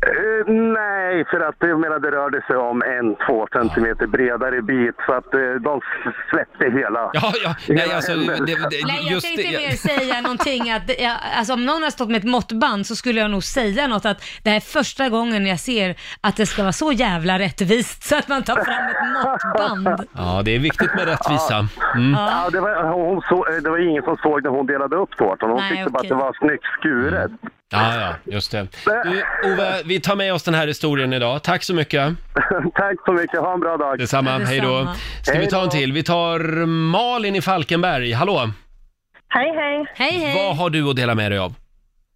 J: Eh, nej, för att jag menar, det rörde sig om en, två centimeter bredare bit. Så att eh, de släppte hela.
A: Ja, ja. Nej, alltså, det,
C: Nej,
A: det,
C: jag
A: just
C: tänkte
A: det.
C: mer säga någonting att, ja, alltså om någon har stått med ett måttband så skulle jag nog säga något att det här är första gången jag ser att det ska vara så jävla rättvist så att man tar fram ett måttband.
A: Ja, det är viktigt med rättvisa. Mm.
J: Ja, det, var, hon så, eh, det var ingen som såg när hon delade upp tårtan. Hon
C: Nej,
J: tyckte bara att
C: okej.
J: det var snyggt skuret. Eh.
A: Ja, ja, just det. Du, Ove, vi tar med oss den här historien idag. Tack så mycket.
J: Tack så mycket. Ha en bra dag.
A: Detsamma,
C: Detsamma.
A: hej då. Ska vi ta en till? Vi tar Malin i Falkenberg. Hallå!
I: Hej, hej.
C: Hej hej!
A: Vad har du att dela med dig av?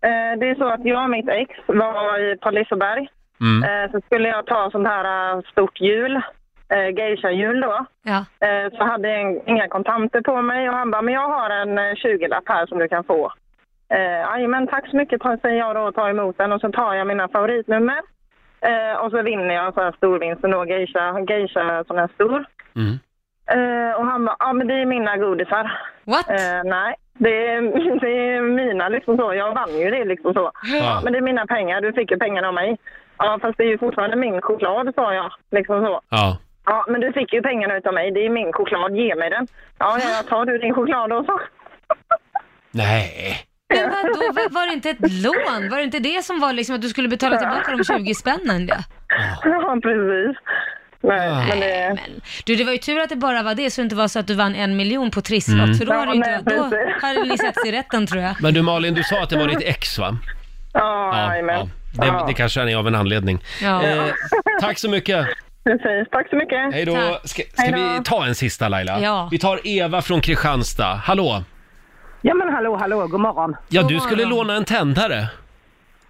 I: Eh, Det är så att jag och mitt ex var på Liseberg.
A: Mm.
I: Eh, Så skulle jag ta sånt här eh, stort hjul, eh, geisha-hjul då.
C: Ja.
I: Eh, Så hade jag ing- inga kontanter på mig och han bara, men jag har en eh, 20-lapp här som du kan få. Eh, men tack så mycket, tar- säger jag då och tar emot den och så tar jag mina favoritnummer. Eh, och så vinner jag en sån här storvinst, en då geisha, geisha sån här stor.
A: Mm.
I: Eh, och han bara, ja men det är mina godisar.
C: What?
I: Eh, nej, det är, det är mina liksom så. Jag vann ju det liksom så.
A: Ja.
I: Men det är mina pengar, du fick ju pengarna av mig. Ja, fast det är ju fortfarande min choklad, sa jag. Liksom så.
A: Ja.
I: Ja, men du fick ju pengarna utav mig. Det är min choklad. Ge mig den. Ja, ja, jag tar du din choklad och så.
A: Nej.
C: Men vadå, var, var det inte ett lån? Var det inte det som var liksom att du skulle betala tillbaka de 20 spännen? Ja?
I: Ja, precis. Nej,
A: Ah.
I: men det...
C: Men, du, det var ju tur att det bara var det så det inte var så att du vann en miljon på trisslott, för då,
I: Ja,
C: hade det inte,
I: nej,
C: då
I: precis.
C: hade ni sett i rätten tror jag.
A: Men du Malin, du sa att det var ditt ex va?
I: Ja,
A: ja.
I: jajamän.
A: Det, det kanske han är av en anledning.
C: Ja.
A: Eh, tack så mycket.
I: Precis. Tack så mycket.
A: Hej då.
C: Tack.
A: Ska, ska vi ta en sista Laila?
C: Ja.
A: Vi tar Eva från Kristianstad. Hallå!
I: Ja, men hallå, hallå. God morgon.
A: Ja,
C: God
A: du skulle
C: morgon.
A: låna en tändare.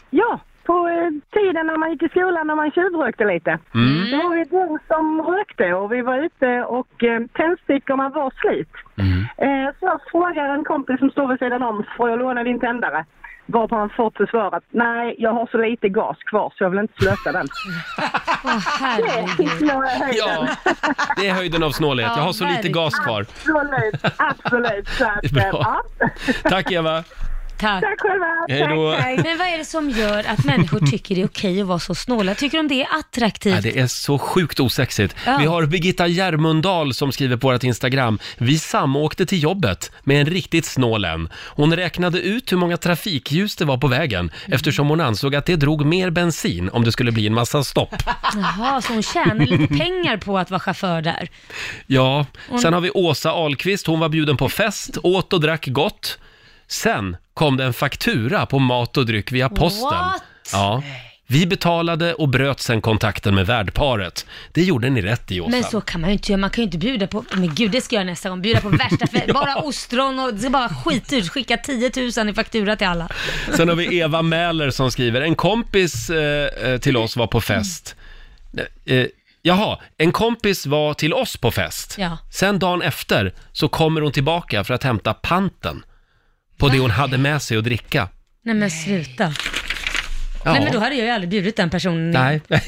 I: Ja,
K: på eh, tiden när man gick i skolan när man tjuvrökte lite.
F: Mm.
K: Då var vi de som rökte och vi var ute och eh, tändstickorna var slut. Eh, så jag frågar en kompis som står vid sidan om, får jag låna din tändare? Varpå han får till svar att nej, jag har så lite gas kvar så jag vill inte slösa den. Det tycker jag är höjden.
A: Det är höjden av snålhet. Jag har så lite gas kvar.
K: Absolut, absolut. Så att, eh,
A: Bra. Tack Eva.
C: Tack. Tack
K: själva.
A: Hej då. Tack, hej.
C: Men vad är det som gör att människor tycker det är okej att vara så snåla? Tycker de det är attraktivt?
A: Ja, det är så sjukt osexigt.
C: Ja.
A: Vi har Birgitta Järmundal som skriver på vårt Instagram. Vi samåkte till jobbet med en riktigt snål en. Hon räknade ut hur många trafikljus det var på vägen
C: Mm.
A: eftersom hon ansåg att det drog mer bensin om det skulle bli en massa stopp.
C: Jaha, så hon tjänar lite pengar på att vara chaufför där.
A: Ja,
C: Hon-
A: sen har vi Åsa Ahlqvist. Hon var bjuden på fest, åt och drack gott. Sen kom det en faktura på mat och dryck via posten.
C: What?
A: Ja. Vi betalade och bröt sen kontakten med värdparet. Det gjorde ni rätt i, Åsa.
C: Men så kan man ju inte göra, man kan ju inte bjuda på, men gud det ska jag göra nästa gång, bjuda på värsta fe- bara ostron och det ska bara skitdyrt, skicka 10 000 i faktura till alla.
A: Sen har vi Eva Mäler som skriver, en kompis eh, eh, till oss var på fest. Eh, jaha, en kompis var till oss på fest.
C: Ja.
A: Sen dagen efter så kommer hon tillbaka för att hämta panten på det hon hade med sig att dricka.
C: Nej men sluta.
A: Ja.
C: Nej men då hade jag ju aldrig bjudit den personen.
A: Nej.
C: Nej,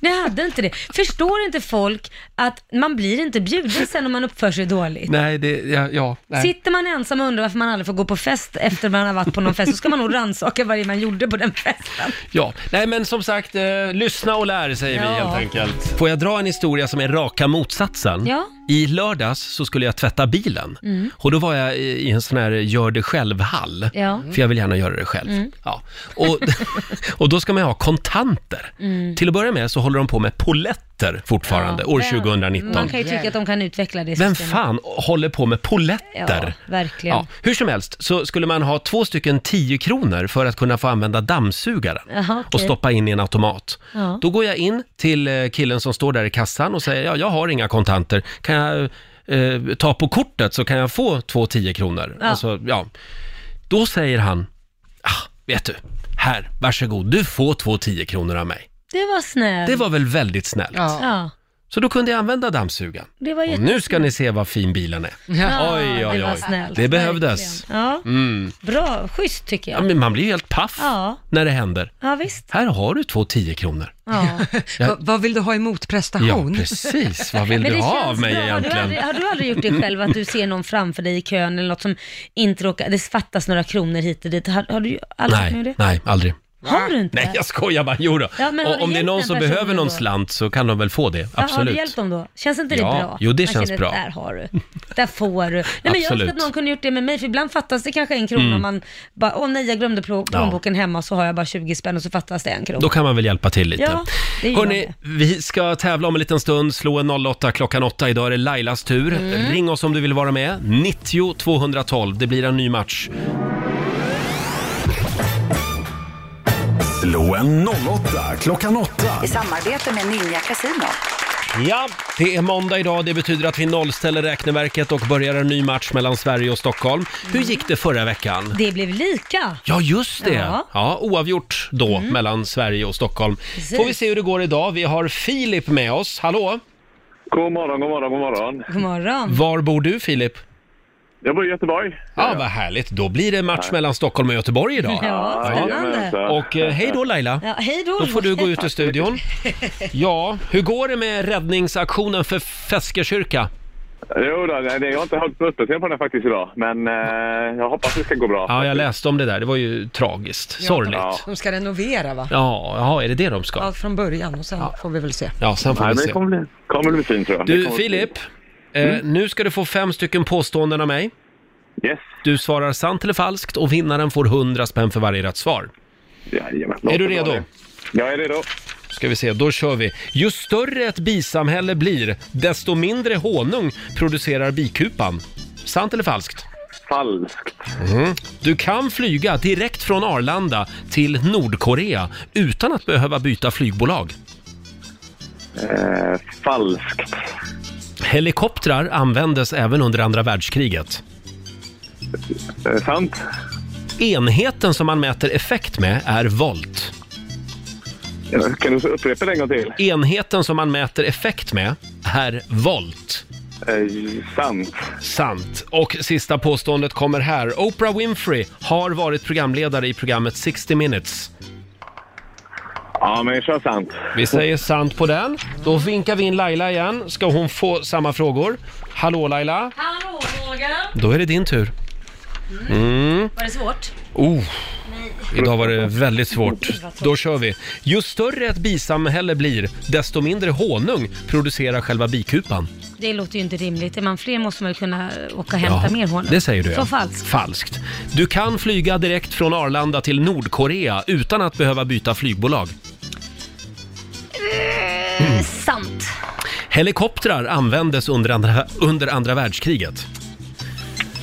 C: jag hade inte det. Förstår inte folk att man blir inte bjuden sen om man uppför sig dåligt?
A: Nej, det, ja, ja nej.
C: Sitter man ensam och undrar varför man aldrig får gå på fest efter man har varit på någon fest, så ska man nog rannsaka vad det är man gjorde på den festen.
A: Ja, nej men som sagt, eh, lyssna och lär säger vi
C: Ja.
A: helt enkelt. Får jag dra en historia som är raka motsatsen?
C: Ja.
A: I lördags så skulle jag tvätta bilen
F: Mm.
A: och då var jag i i en sån här eh, gör det själv-hall,
F: Ja.
A: för jag vill gärna göra det själv.
F: Mm.
A: Ja. Och, och då ska man ju ha kontanter.
C: Mm.
A: Till att börja med så håller de på med poletter fortfarande, år 2019.
C: Man kan ju tycka att de kan utveckla det
A: Vem
C: systemet.
A: fan håller på med poletter?
C: Ja, verkligen.
A: Ja, hur som helst så skulle man ha två stycken 10 kronor för att kunna få använda dammsugaren
C: Jaha, okej.
A: och stoppa in i en automat.
C: Ja.
A: Då går jag in till eh, killen som står där i kassan och säger, ja, jag har inga kontanter, kan jag eh, ta på kortet så kan jag få två 10 kronor?
F: Ja.
A: Alltså, ja. Då säger han, ah, vet du, här, varsågod, du får två 10 kronor av mig.
C: Det var snällt.
A: Det var väl väldigt snällt.
C: Mm. Ja.
A: Så då kunde jag använda dammsugaren.
C: Det var
A: Och
C: jättesnällt.
A: nu ska ni se vad fin bilen är.
C: Ja,
A: oj, oj,
C: det var
A: oj.
C: snällt.
A: Det behövdes.
C: Ja,
A: Mm.
C: bra, schysst tycker
A: Ja,
C: jag.
A: men man blir ju helt paff
C: Ja,
A: när det händer.
C: ja visst.
A: Här har du två 10 kronor.
C: Ja.
A: Ja.
B: Va- vad vill du ha i motprestation?
A: Ja, precis. Vad vill
C: Men
A: du
C: det
A: ha
C: känns
A: av mig
C: bra. Har du,
A: egentligen?
C: aldrig, har du aldrig gjort det själv, att du ser någon framför dig i kön eller något som inte råkar, det fattas några kronor hit och dit. Har, har du aldrig varit med om
A: Nej,
C: det?
A: nej, aldrig.
C: Har du inte?
A: Nej, jag skojar bara. Jo då.
C: Ja, men har
A: Och
C: du
A: om det är
C: hjälpt
A: någon
C: den
A: som
C: personen
A: behöver någon
C: då?
A: slant så kan de väl få det.
C: Ja, har du
A: Absolut.
C: hjälpt dem då? Känns inte det
A: Ja,
C: bra?
A: jo, det
C: Man
A: känns
C: känner,
A: bra.
C: Där har du. Där får du. Nej, men jag önskar
A: Absolut.
C: att någon kunde gjort det med mig, för ibland fattas det kanske en krona.
A: Mm.
C: Man bara, åh nej, jag glömde plå- plånboken hemma och så har jag bara 20 spänn och så fattas det en krona.
A: Då kan man väl hjälpa till lite.
C: Ja, det gör
A: Hörrni, vi ska tävla om en liten stund, slå en 08 klockan 8. Idag är det Lailas tur.
C: Mm.
A: Ring oss om du vill vara med. 90 212, det blir en ny match.
E: Slå en 08 klockan 8.
L: I samarbete med Ninja Casino.
A: Ja, det är måndag idag. Det betyder att vi nollställer räkneverket och börjar en ny match mellan Sverige och Stockholm. Hur gick det förra veckan?
C: Det blev lika.
A: Ja, just det. Ja.
C: Ja. Mm.
A: oavgjort då mellan Sverige och Stockholm.
C: Precis.
A: Får vi se hur det går idag. Vi har Filip med oss. Hallå!
M: God morgon, god morgon, god morgon.
C: God morgon.
A: Var bor du Filip?
M: Jag bor i Göteborg.
A: Ja, vad härligt. Då blir det match mellan Stockholm och Göteborg idag.
C: Ja, spännande.
A: Och eh, hej då Laila.
C: Ja, hej då.
A: Då får du gå ut ur studion. Ja, hur går det med räddningsaktionen för Feskekyrka?
M: Jo då, nej, det- jag har inte hållit på uppdatering på den faktiskt idag. Men eh, jag hoppas det ska gå bra.
A: Ja, jag läste om det där. Det var ju tragiskt. Sorgligt.
B: De ska renovera va?
A: Ja, jaha, är det det de ska?
B: Ja, från början och sen får vi väl se.
A: Ja, sen får
M: Nej,
A: vi
M: men
A: se.
M: det kommer bli, kommer bli fint tror jag. Det
A: Du
M: kommer bli
A: Filip,
M: fint.
A: eh,
M: Mm.
A: nu ska du få fem stycken påståenden av mig.
M: Yes.
A: Du svarar sant eller falskt och vinnaren får 100 spänn för varje rätt svar. är du
M: låter bra
A: redo?
M: det. Jag är redo.
A: Ska vi se, då kör vi. Ju större ett bisamhälle blir, desto mindre honung producerar bikupan. Sant eller falskt?
M: Falskt.
A: Mhm. Du kan flyga direkt från Arlanda till Nordkorea utan att behöva byta flygbolag.
M: Eh, falskt.
A: Helikoptrar användes även under andra världskriget.
M: Eh, sant.
A: Enheten som man mäter effekt med är volt.
M: Ja, Kan du upprepa det en gång till?
A: Enheten som man mäter effekt med är volt.
M: Eh, sant.
A: Sant. Och sista påståendet kommer här. Oprah Winfrey har varit programledare i programmet 60 minutes.
M: Ja, men kör sant.
A: Vi säger sant på den. Då vinkar vi in Laila igen. Ska hon få samma frågor? Hallå Laila!
C: Hallå Roger!
A: Då är det din tur. Mm.
C: Var det svårt?
A: Oh. Idag var det väldigt svårt. Då kör vi. Ju större ett bisamhälle blir, desto mindre honung producerar själva bikupan.
C: Det låter ju inte rimligt. Är man fler måste man väl kunna åka och hämta
A: Ja,
C: mer honung.
A: Det säger du
C: Så
A: ja.
C: falskt.
A: Falskt. Du kan flyga direkt från Arlanda till Nordkorea utan att behöva byta flygbolag. Mm.
C: Eh, sant.
A: Helikoptrar användes under andra, under andra världskriget.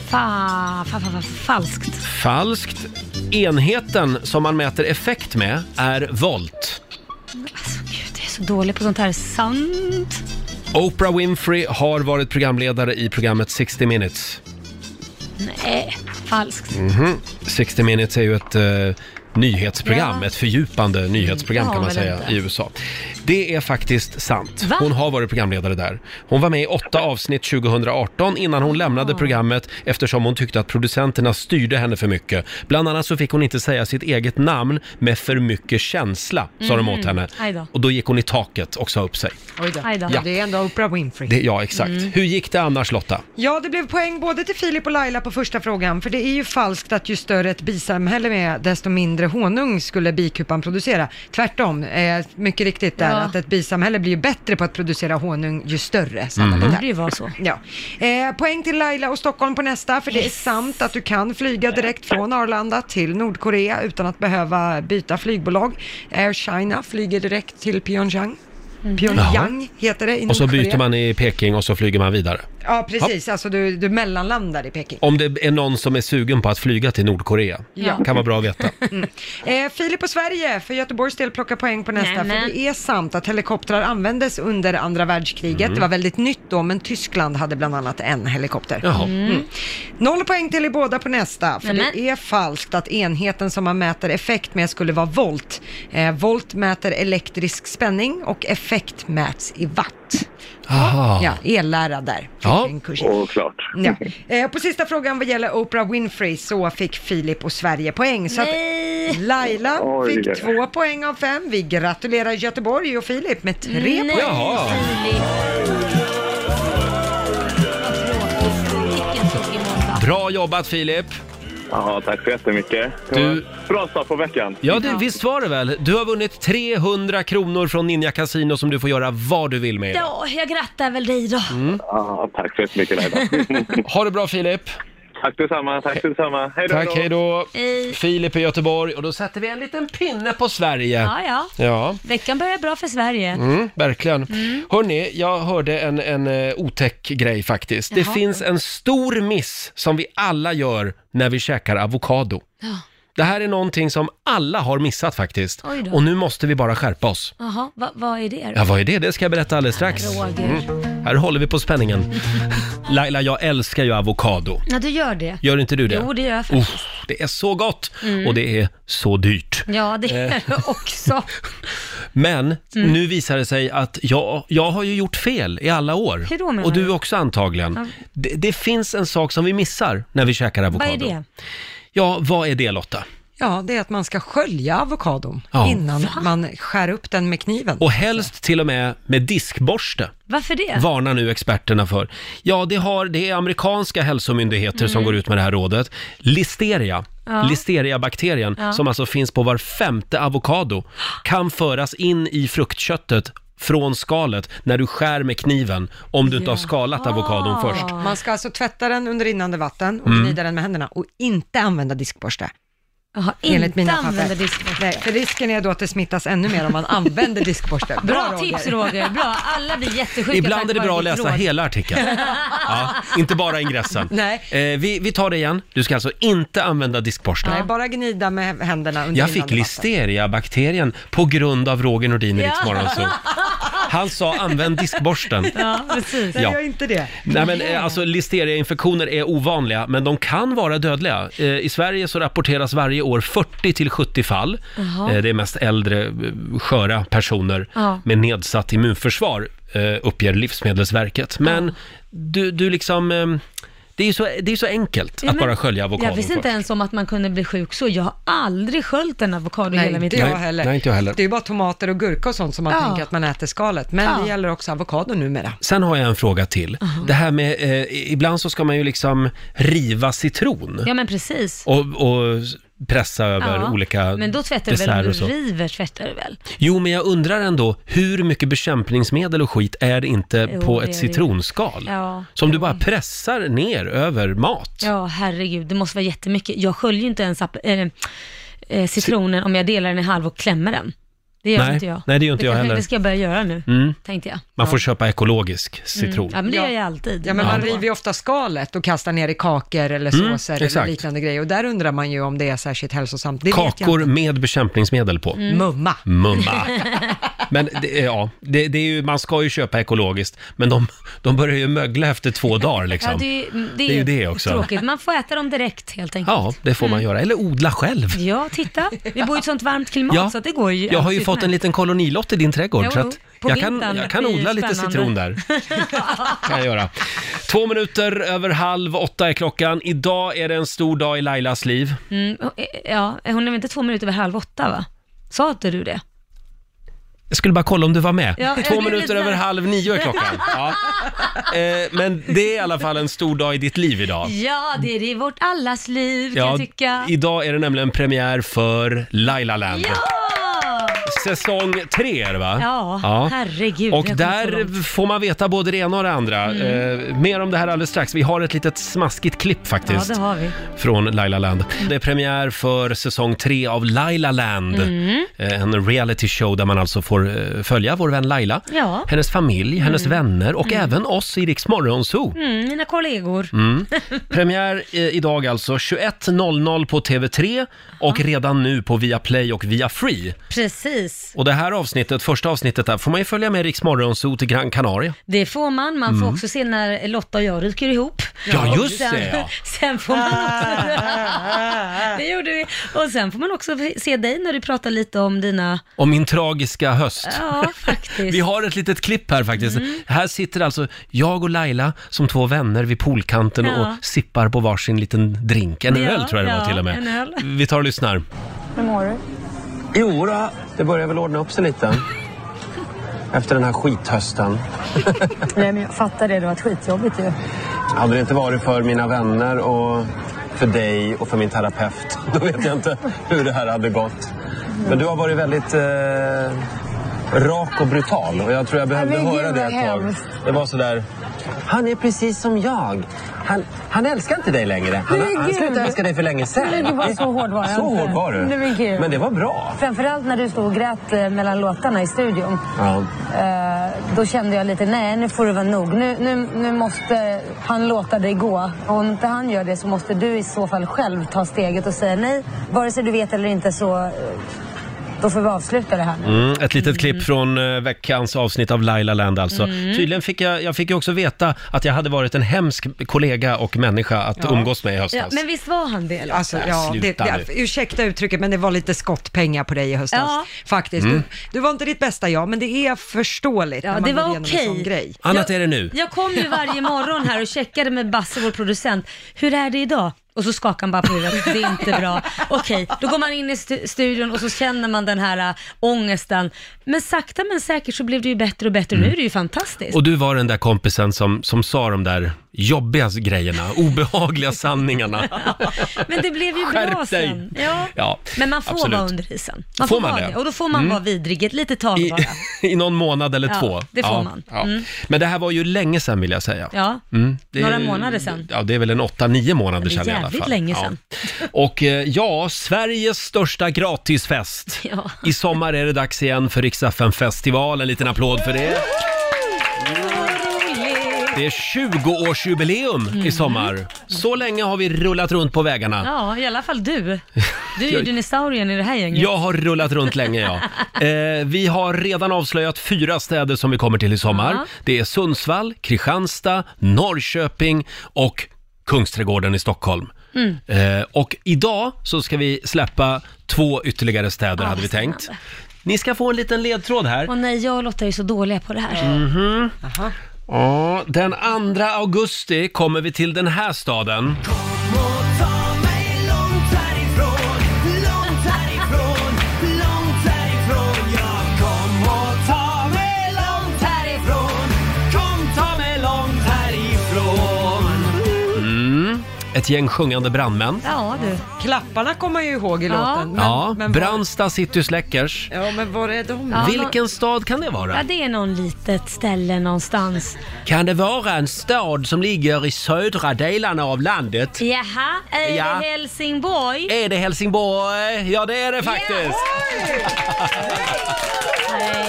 C: Fa, fa, fa, fa, falskt.
A: Falskt. Enheten som man mäter effekt med är volt.
C: Gud, jag är så dålig på sånt här. Sant.
A: Oprah Winfrey har varit programledare i programmet 60 minutes.
C: Nej, falskt.
A: Mhm. 60 minutes är ju ett eh, nyhetsprogram,
C: Ja.
A: ett fördjupande nyhetsprogram
C: Ja,
A: kan man
C: väl
A: säga
C: inte.
A: i USA. Det är faktiskt sant.
C: Va?
A: Hon har varit programledare där. Hon var med i åtta avsnitt 2018 innan hon lämnade programmet eftersom hon tyckte att producenterna styrde henne för mycket. Bland annat så fick hon inte säga sitt eget namn med för mycket känsla, sa de
B: Mhm.
A: åt henne.
B: Aj då.
A: Och då gick hon i taket och sa upp sig.
B: Oj då.
A: då.
B: Ja. Det är ändå Oprah Winfrey. Mm.
A: Det, ja, exakt. Hur gick det annars Lotta?
B: Ja, det blev poäng både till Filip och Laila på första frågan, för det är ju falskt att ju större ett bisamhälle med, desto mindre honung skulle bikupan producera. Tvärtom, eh, mycket riktigt där,
C: Ja.
B: att ett bisamhälle blir ju bättre på att producera honung ju större
C: Mm-hmm. Det
B: sannolikt.
C: borde ju vara så.
B: Ja. Eh, poäng till Laila och Stockholm på nästa, för det är sant att du kan flyga direkt från Arlanda till Nordkorea utan att behöva byta flygbolag. Air China flyger direkt till Pyongyang.
C: Mm-hmm.
B: Pyongyang heter det i
A: Och så
B: Nordkorea.
A: byter man i Peking och så flyger man vidare.
B: Ja, precis. Alltså du, du mellanlandar i Peking.
A: Om det är någon som är sugen på att flyga till Nordkorea.
B: Ja.
A: Kan vara bra att veta.
B: Eh, Filip och Sverige för Göteborgs del plockar poäng på nästa. För det är sant att helikoptrar användes under andra världskriget.
C: Mm.
B: Det var väldigt nytt då, men Tyskland hade bland annat en helikopter.
C: Jaha. Mm.
B: Noll poäng till er båda på nästa. För
C: Nämen.
B: det är falskt att enheten som man mäter effekt med skulle vara volt. Eh, volt mäter elektrisk spänning och effekt mäts i watt.
C: Ah.
A: Aha.
B: Ja, ellära där.
A: Ja.
M: Och klart.
B: Ja. Eh, på sista frågan vad gäller Oprah Winfrey så fick Filip och Sverige poäng. Så att Laila
F: Oj.
B: fick två poäng av fem. Vi gratulerar Göteborg och Filip med tre
F: Nej,
B: poäng.
A: Ah.
F: Jaha.
A: Bra jobbat Filip!
M: Ja, tack så jättemycket.
A: Du-
M: Bra start på veckan.
A: Ja, det, visst var det väl? Du har vunnit 300 kronor från Ninja Casino som du får göra vad du vill med idag.
C: Ja, jag grattar väl dig då.
A: Mm.
M: tack så jättemycket Laila.
A: ha det bra Filip!
M: Tack detsamma, tack detsamma. Hej då.
A: Tack, hej då!
C: Hej.
A: Filip i Göteborg och då sätter vi en liten pinne på Sverige.
C: Ja, ja.
A: Ja.
C: Veckan börjar bra för Sverige.
A: Mm, verkligen.
C: Mm.
A: Hörni, jag hörde en, en eh, otäck grej faktiskt. Det
C: Jaha.
A: finns en stor miss som vi alla gör när vi käkar avokado.
C: Ja.
A: Det här är någonting som alla har missat faktiskt.
C: Oj då.
A: Och nu måste vi bara skärpa oss.
C: Jaha, va, vad är det då?
A: Ja, vad är det? Det ska jag berätta alldeles strax. Mm.
C: Roger.
A: Här håller vi på spänningen. Laila, jag älskar ju avokado.
C: Ja, du gör det.
A: Gör inte du det?
C: Jo, det gör jag faktiskt.
A: Uff, det är så gott
C: Mm.
A: och det är så dyrt.
C: Ja, det
A: Eh.
C: är det också.
A: Men
C: Mm.
A: nu visar det sig att jag, jag har ju gjort fel i alla år.
C: Hur då, menar
A: och du
C: du?
A: också antagligen.
C: Ja.
A: Det, det finns en sak som vi missar när vi käkar avokado.
B: Vad är det?
A: Ja, vad är det Lotta?
B: Ja, det är att man ska skölja avokadon
A: Ja.
B: innan man skär upp den med kniven.
A: Och helst till och med med diskborste.
C: Varför det?
A: Varnar nu experterna för. Ja, det, har, det är amerikanska hälsomyndigheter som
C: Mm.
A: går ut med det här rådet. Listeria,
C: Ja.
A: listeriabakterien
C: Ja.
A: som alltså finns på var femte avokado, kan föras in i fruktköttet från skalet när du skär med kniven om du inte har skalat
C: Ah.
A: avokadon först.
B: Man ska alltså tvätta den under rinnande vatten och
A: Mm.
B: gnida den med händerna och inte använda diskborste.
C: Jaha,
B: Enligt
C: inte
B: mina papper.
C: använda diskborste.
B: Nej, för risken är då att det smittas ännu mer om man använder diskborste.
C: Bra, tips Roger, bra. Alla blir jättesjuka.
A: Ibland
C: tack
A: är det
C: vare
A: bra att
C: ditt
A: läsa
C: råd.
A: hela artikeln. Ja, inte bara ingressen.
B: Nej.
A: Eh, vi, vi tar det igen. Du ska alltså inte använda diskborsten.
B: Nej, bara gnida med händerna under
A: Jag
B: rinnande
A: fick
B: vatten.
A: listeriabakterien på grund av Roger Nordin i Rix Morgonzoo. Han sa använd diskborsten.
C: Ja, precis.
A: Nej, Ja. gör
B: inte det.
A: Nej men eh, alltså listeriainfektioner är ovanliga, men de kan vara dödliga. Eh, I Sverige så rapporteras varje år 40 till 70 fall.
F: Jaha.
A: Eh, det är mest äldre, eh, sköra personer
F: Ja.
A: med nedsatt immunförsvar, eh, uppger Livsmedelsverket. Men du, du liksom, eh, det är ju så, det är så enkelt
C: Ja,
A: att
C: men
A: bara skölja avokadon
C: Jag visste inte
A: först.
C: ens om att man kunde bli sjuk så. Jag har aldrig sköljt en avokado i
B: Nej,
C: hela mitt
B: inte
C: liv.
B: jag heller.
A: Nej, inte jag heller.
B: Det är ju bara tomater och gurka och sånt som man
C: Ja.
B: tänker att man äter skalet. Men
C: Ja.
B: det gäller också avokado numera.
A: Sen har jag en fråga till. Det här med, eh, ibland så ska man ju liksom riva citron.
C: Ja, men precis.
A: och, och pressa över
C: Ja,
A: olika
C: Men då tvättar du väl,
A: desserter
C: om
A: och
C: du
A: så.
C: river tvättar du väl?
A: Jo, men jag undrar ändå, hur mycket bekämpningsmedel och skit är det inte
C: Jo,
A: på
C: det är
A: ett
C: det.
A: citronskal?
C: Ja.
A: Som du bara pressar ner över mat.
C: Ja, herregud, det måste vara jättemycket. Jag sköljer ju inte ens app- eh, eh, citronen om jag delar den i halv och klämmer den. Det gör
A: Nej,
C: inte jag.
A: nej, det gör inte
C: det
A: jag
C: kanske-
A: heller.
C: Det ska jag börja göra nu,
A: Mm.
C: tänkte jag.
A: Man får köpa ekologisk citron.
C: Mm. Ja, men det gör jag alltid.
B: Ja, men man
C: Ja.
B: river ju ofta skalet och kastar ner i kakor eller
A: Mm,
B: såser eller
A: exakt.
B: liknande grejer. Och där undrar man ju om det är särskilt hälsosamt. Det vet jag
A: Kakor
B: inte.
A: med bekämpningsmedel på.
B: Mm. Mumma.
A: Mumma. Men det, ja, det, det är ju, man ska ju köpa ekologiskt, men de, de börjar ju mögla efter två dagar liksom.
C: Ja, det, är, ju-
A: Det är ju det också.
C: tråkigt. Man får äta dem direkt helt enkelt.
A: Ja, det
C: Mm.
A: får man göra. Eller odla själv.
C: Ja, titta. Vi bor i ett sånt varmt klimat
A: Ja.
C: så att det går ju
A: Jag har ju
C: alldeles
A: fått en
C: utmärkt.
A: liten kolonilott i din trädgård
C: Jo,
A: så att
C: på
A: jag kan,
C: vintern
A: jag kan
C: blir
A: odla lite
C: spännande.
A: citron där. kan jag göra. Två minuter över halv åtta är klockan. Idag är det en stor dag i Lailas liv.
C: Mm, och, eh, ja, hon är väl inte två minuter över halv åtta va? Sa inte du det?
A: Jag skulle bara kolla om du var med.
C: Ja, jag
A: Två
C: blev lite
A: minuter
C: sådär.
A: över halv nio är klockan. Ja. Eh, men det är i alla fall en stor dag i ditt liv idag.
C: Ja, det är det i vårt allas liv kan jag tycka.
A: idag är det nämligen premiär för Lailaland.
C: Ja!
A: Säsong tre är det va?
C: Ja, herregud.
A: Och
C: jag kom så
A: där
C: långt.
A: får man veta både det ena och det andra.
C: Mm.
A: Eh, mer om det här alldeles strax. Vi har ett litet smaskigt klipp
C: Ja,
A: faktiskt.
C: det har vi.
A: Från Laila Land. Det är premiär för säsong tre av Laila Land.
C: Mm.
A: Eh, En reality show där man alltså får eh, följa vår vän Laila,
C: Ja.
A: hennes familj, hennes
C: Mm.
A: vänner och
C: Mm.
A: även oss i Rix Morgon Zoo.
C: Mm, mina kollegor.
A: Mm. Premiär eh, idag alltså 21.00 på TV3 och redan nu på Viaplay och via Free.
C: Precis.
A: Och det här avsnittet, första avsnittet där, får man ju följa med Rix Morgon Zoo till Gran Canaria.
C: Det får man. Man får
A: Mm.
C: också se när Lotta och jag ryker ihop.
A: Ja,
C: Och
A: just det,
C: sen,
A: ja.
C: Sen får man också... det gjorde vi. Och sen får man också se dig när du pratar lite om dina...
A: Och min tragiska höst.
C: Ja, faktiskt.
A: Vi har ett litet klipp här faktiskt.
N: Mm.
A: Här sitter alltså jag och Laila som två vänner vid poolkanten
N: Ja.
A: och sippar på varsin liten drink. En
N: Ja,
A: öl tror jag det
N: ja,
A: var till och med.
N: en öl.
A: Vi tar och lyssnar.
N: Hur mår du? Jo då, det börjar väl ordna upp sig lite. Efter den här skithösten.
O: Nej, men jag fattar det. Det var skitjobbigt ju.
N: Hade det inte varit för mina vänner och för dig och för min terapeut, då vet jag inte hur det här hade gått. Men du har varit väldigt eh, rak och brutal och jag tror jag behövde
O: Nej, men gud,
N: höra det
O: vad
N: ett tag.
O: hemskt.
N: Det var sådär, han är precis som jag. Han, han älskar inte dig längre. Han,
O: Nej, men
N: han slutade
O: gud.
N: älska dig för länge sedan.
O: Nej, men gud, vad så hård var jag
N: Så
O: inte.
N: hård var du.
O: Nej, men gud.
N: Men det var bra.
O: Framförallt när du stod och grät eh, mellan låtarna i studion.
N: Ja.
O: Eh, då kände jag lite, nej nu får det vara nog. Nu, nu, nu måste han låta dig gå. Och om inte han gör det så måste du i så fall själv ta steget och säga nej. Vare sig du vet eller inte så eh, då får vi avsluta det här nu.
A: Mm, ett litet klipp från eh, veckans avsnitt av Laila Land alltså.
O: Mm.
A: Tydligen fick jag, jag fick ju också veta att jag hade varit en hemsk kollega och människa att
B: Ja.
A: umgås med i höstas.
C: Ja, men visst var han det?
B: Alltså,
A: Nej,
B: ja, det,
A: sluta
B: det,
A: nu.
B: ursäkta uttrycket, men det var lite skottpengar på dig i höstas.
C: Ja.
B: Faktiskt.
A: Mm.
B: Du, du var inte ditt bästa jag, men det är förståeligt
C: Ja,
B: när man
C: det var
B: går igenom en sån
C: okej.
B: grej.
A: Annat är det nu.
C: Jag kom ju varje morgon här och checkade med Basse, vår producent. Hur är det idag? Och så skakar han bara på huvudet. Det är inte bra. Okej, då går man in i stu- studion och så känner man den här äh, ångesten. Men sakta men säkert så blev det ju bättre och bättre. Nu är det ju fantastiskt.
A: Mm. Och du var den där kompisen som, som sa de där jobbiga grejerna, obehagliga sanningarna.
C: Men det blev ju bra
A: Skärp dig.
C: sen. Ja.
A: Ja,
C: Men man får
A: absolut.
C: vara under isen.
A: Får man
C: vara
A: det?
C: Och då får man
A: Mm.
C: vara vidrig ett litet tag
A: I,
C: bara.
A: I någon månad eller
C: Ja,
A: två.
C: det får man. Mm.
A: Men det här var ju länge sedan vill jag säga.
C: Ja,
A: Mm, det är-
C: några månader sedan.
A: Ja, det är väl en åtta, nio månader
C: Det är
A: sedan i alla fall.
C: jävligt länge sedan.
A: Ja. Och eh, ja, Sveriges största gratisfest.
C: Ja.
A: I sommar är det dags igen för Riksaffen festival En liten applåd för det.
C: Roligt. Mm.
A: Det är 20-årsjubileum i sommar. Så länge har vi rullat runt på vägarna.
C: Ja, i alla fall du. Du är ju dinosaurien i det här gänget.
A: Jag har rullat runt länge, ja. Eh, vi har redan avslöjat fyra städer som vi kommer till i sommar.
C: Ja.
A: Det är Sundsvall, Kristianstad, Norrköping och Kungsträdgården i Stockholm. Mm. Eh, och idag så ska vi släppa två ytterligare städer, hade vi tänkt. Ni ska få en liten ledtråd här.
C: Åh nej, jag och Lotta är ju så dåliga på det här.
A: Mhm. Ja, den 2 augusti kommer vi till den här staden. Mm. Ett gäng sjungande brandmän.
C: Ja, du.
B: Klapparna kommer jag ju ihåg i låten. Men,
A: ja,
B: men var,
A: Brandsta City Släckers.
B: ja, men var är de?
C: Ja,
A: Vilken stad kan det vara?
C: Ja, det är någon litet ställe någonstans.
A: Kan det vara en stad som ligger i södra delarna av landet?
C: Jaha, är
A: Ja.
C: det Helsingborg?
A: Är det Helsingborg? Ja, det är det faktiskt!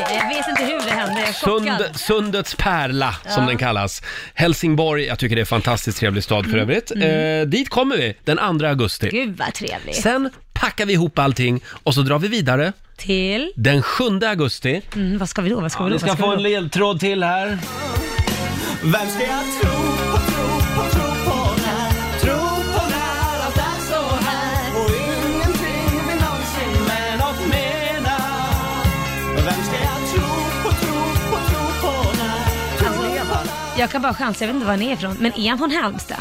C: Nej, jag vet inte hur det hände. Jag är chockad.
A: Sund, sundets pärla, som
C: Ja.
A: den kallas. Helsingborg, jag tycker det är en fantastiskt trevlig stad för övrigt.
C: Mm.
A: Eh, dit kommer vi den 2 augusti.
C: Gud vad trevligt.
A: Sen packar vi ihop allting och så drar vi vidare
C: Till?
A: den 7 augusti.
C: Mm, vad ska vi då? Vad ska
A: Ja,
C: vi
A: ni
C: då? Vad
A: ska
C: ska vi
A: få
C: då?
A: en ledtråd till här.
F: Vem ska jag tro på, tro på, tro på när? Tro på när allt är så här och ingenting vill någonsin med något mena. Vem ska jag tro på, tro på, tro på när? Tro på när?
C: Jag kan bara chansa, jag vet inte var han är ifrån. Men är han från Halmstad?